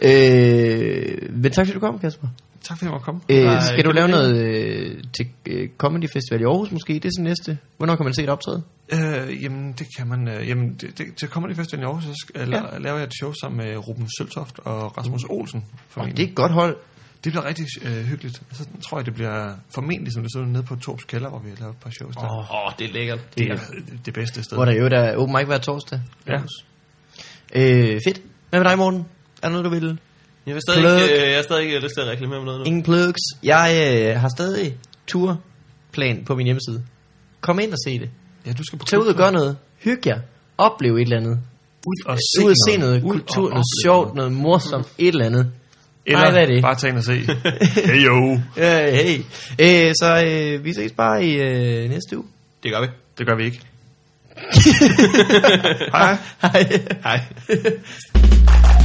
øh, men tak, fordi du kom, Kasper. Tak fordi jeg måtte komme. Øh, Nej, skal du lave noget øh, til øh, Comedy Festival i Aarhus måske? Det er så næste. Hvornår kan man se et optræde? Øh, jamen, det kan man. Øh, jamen, det, det, til Comedy Festival i Aarhus, så skal, ja. laver jeg et show sammen med Ruben Søltoft og Rasmus Olsen. Oh, Formentlig. det er et godt hold. det bliver rigtig øh, hyggeligt. Så tror jeg, det bliver formentlig, som det sidder nede på Torps Kælder, hvor vi laver et par shows der. Åh, oh, det er lækkert. det er det bedste sted. Hvor der jo der er open mic hver torsdag. Ja. Øh, fedt. Hvad med dig, Morten? Er der noget, du vil? Jeg har stadig, Plug. ikke, øh, jeg har stadig ikke lyst til at reklamere med noget nu. Ingen plugs. Jeg øh, har stadig turplan på min hjemmeside. Kom ind og se det. ja, du skal på Tag ud og gør noget. Hyg jer. Oplev et eller andet. Ud og Se ud og se noget kultur, og noget opleve sjovt, noget morsomt, et eller andet. Eller Nej, hvad er det? bare tag ind og se. hey, jo. Øh, hey. Øh, så øh, vi ses bare i øh, næste uge. Det gør vi. Det gør vi ikke. Hej. Hej. Hej.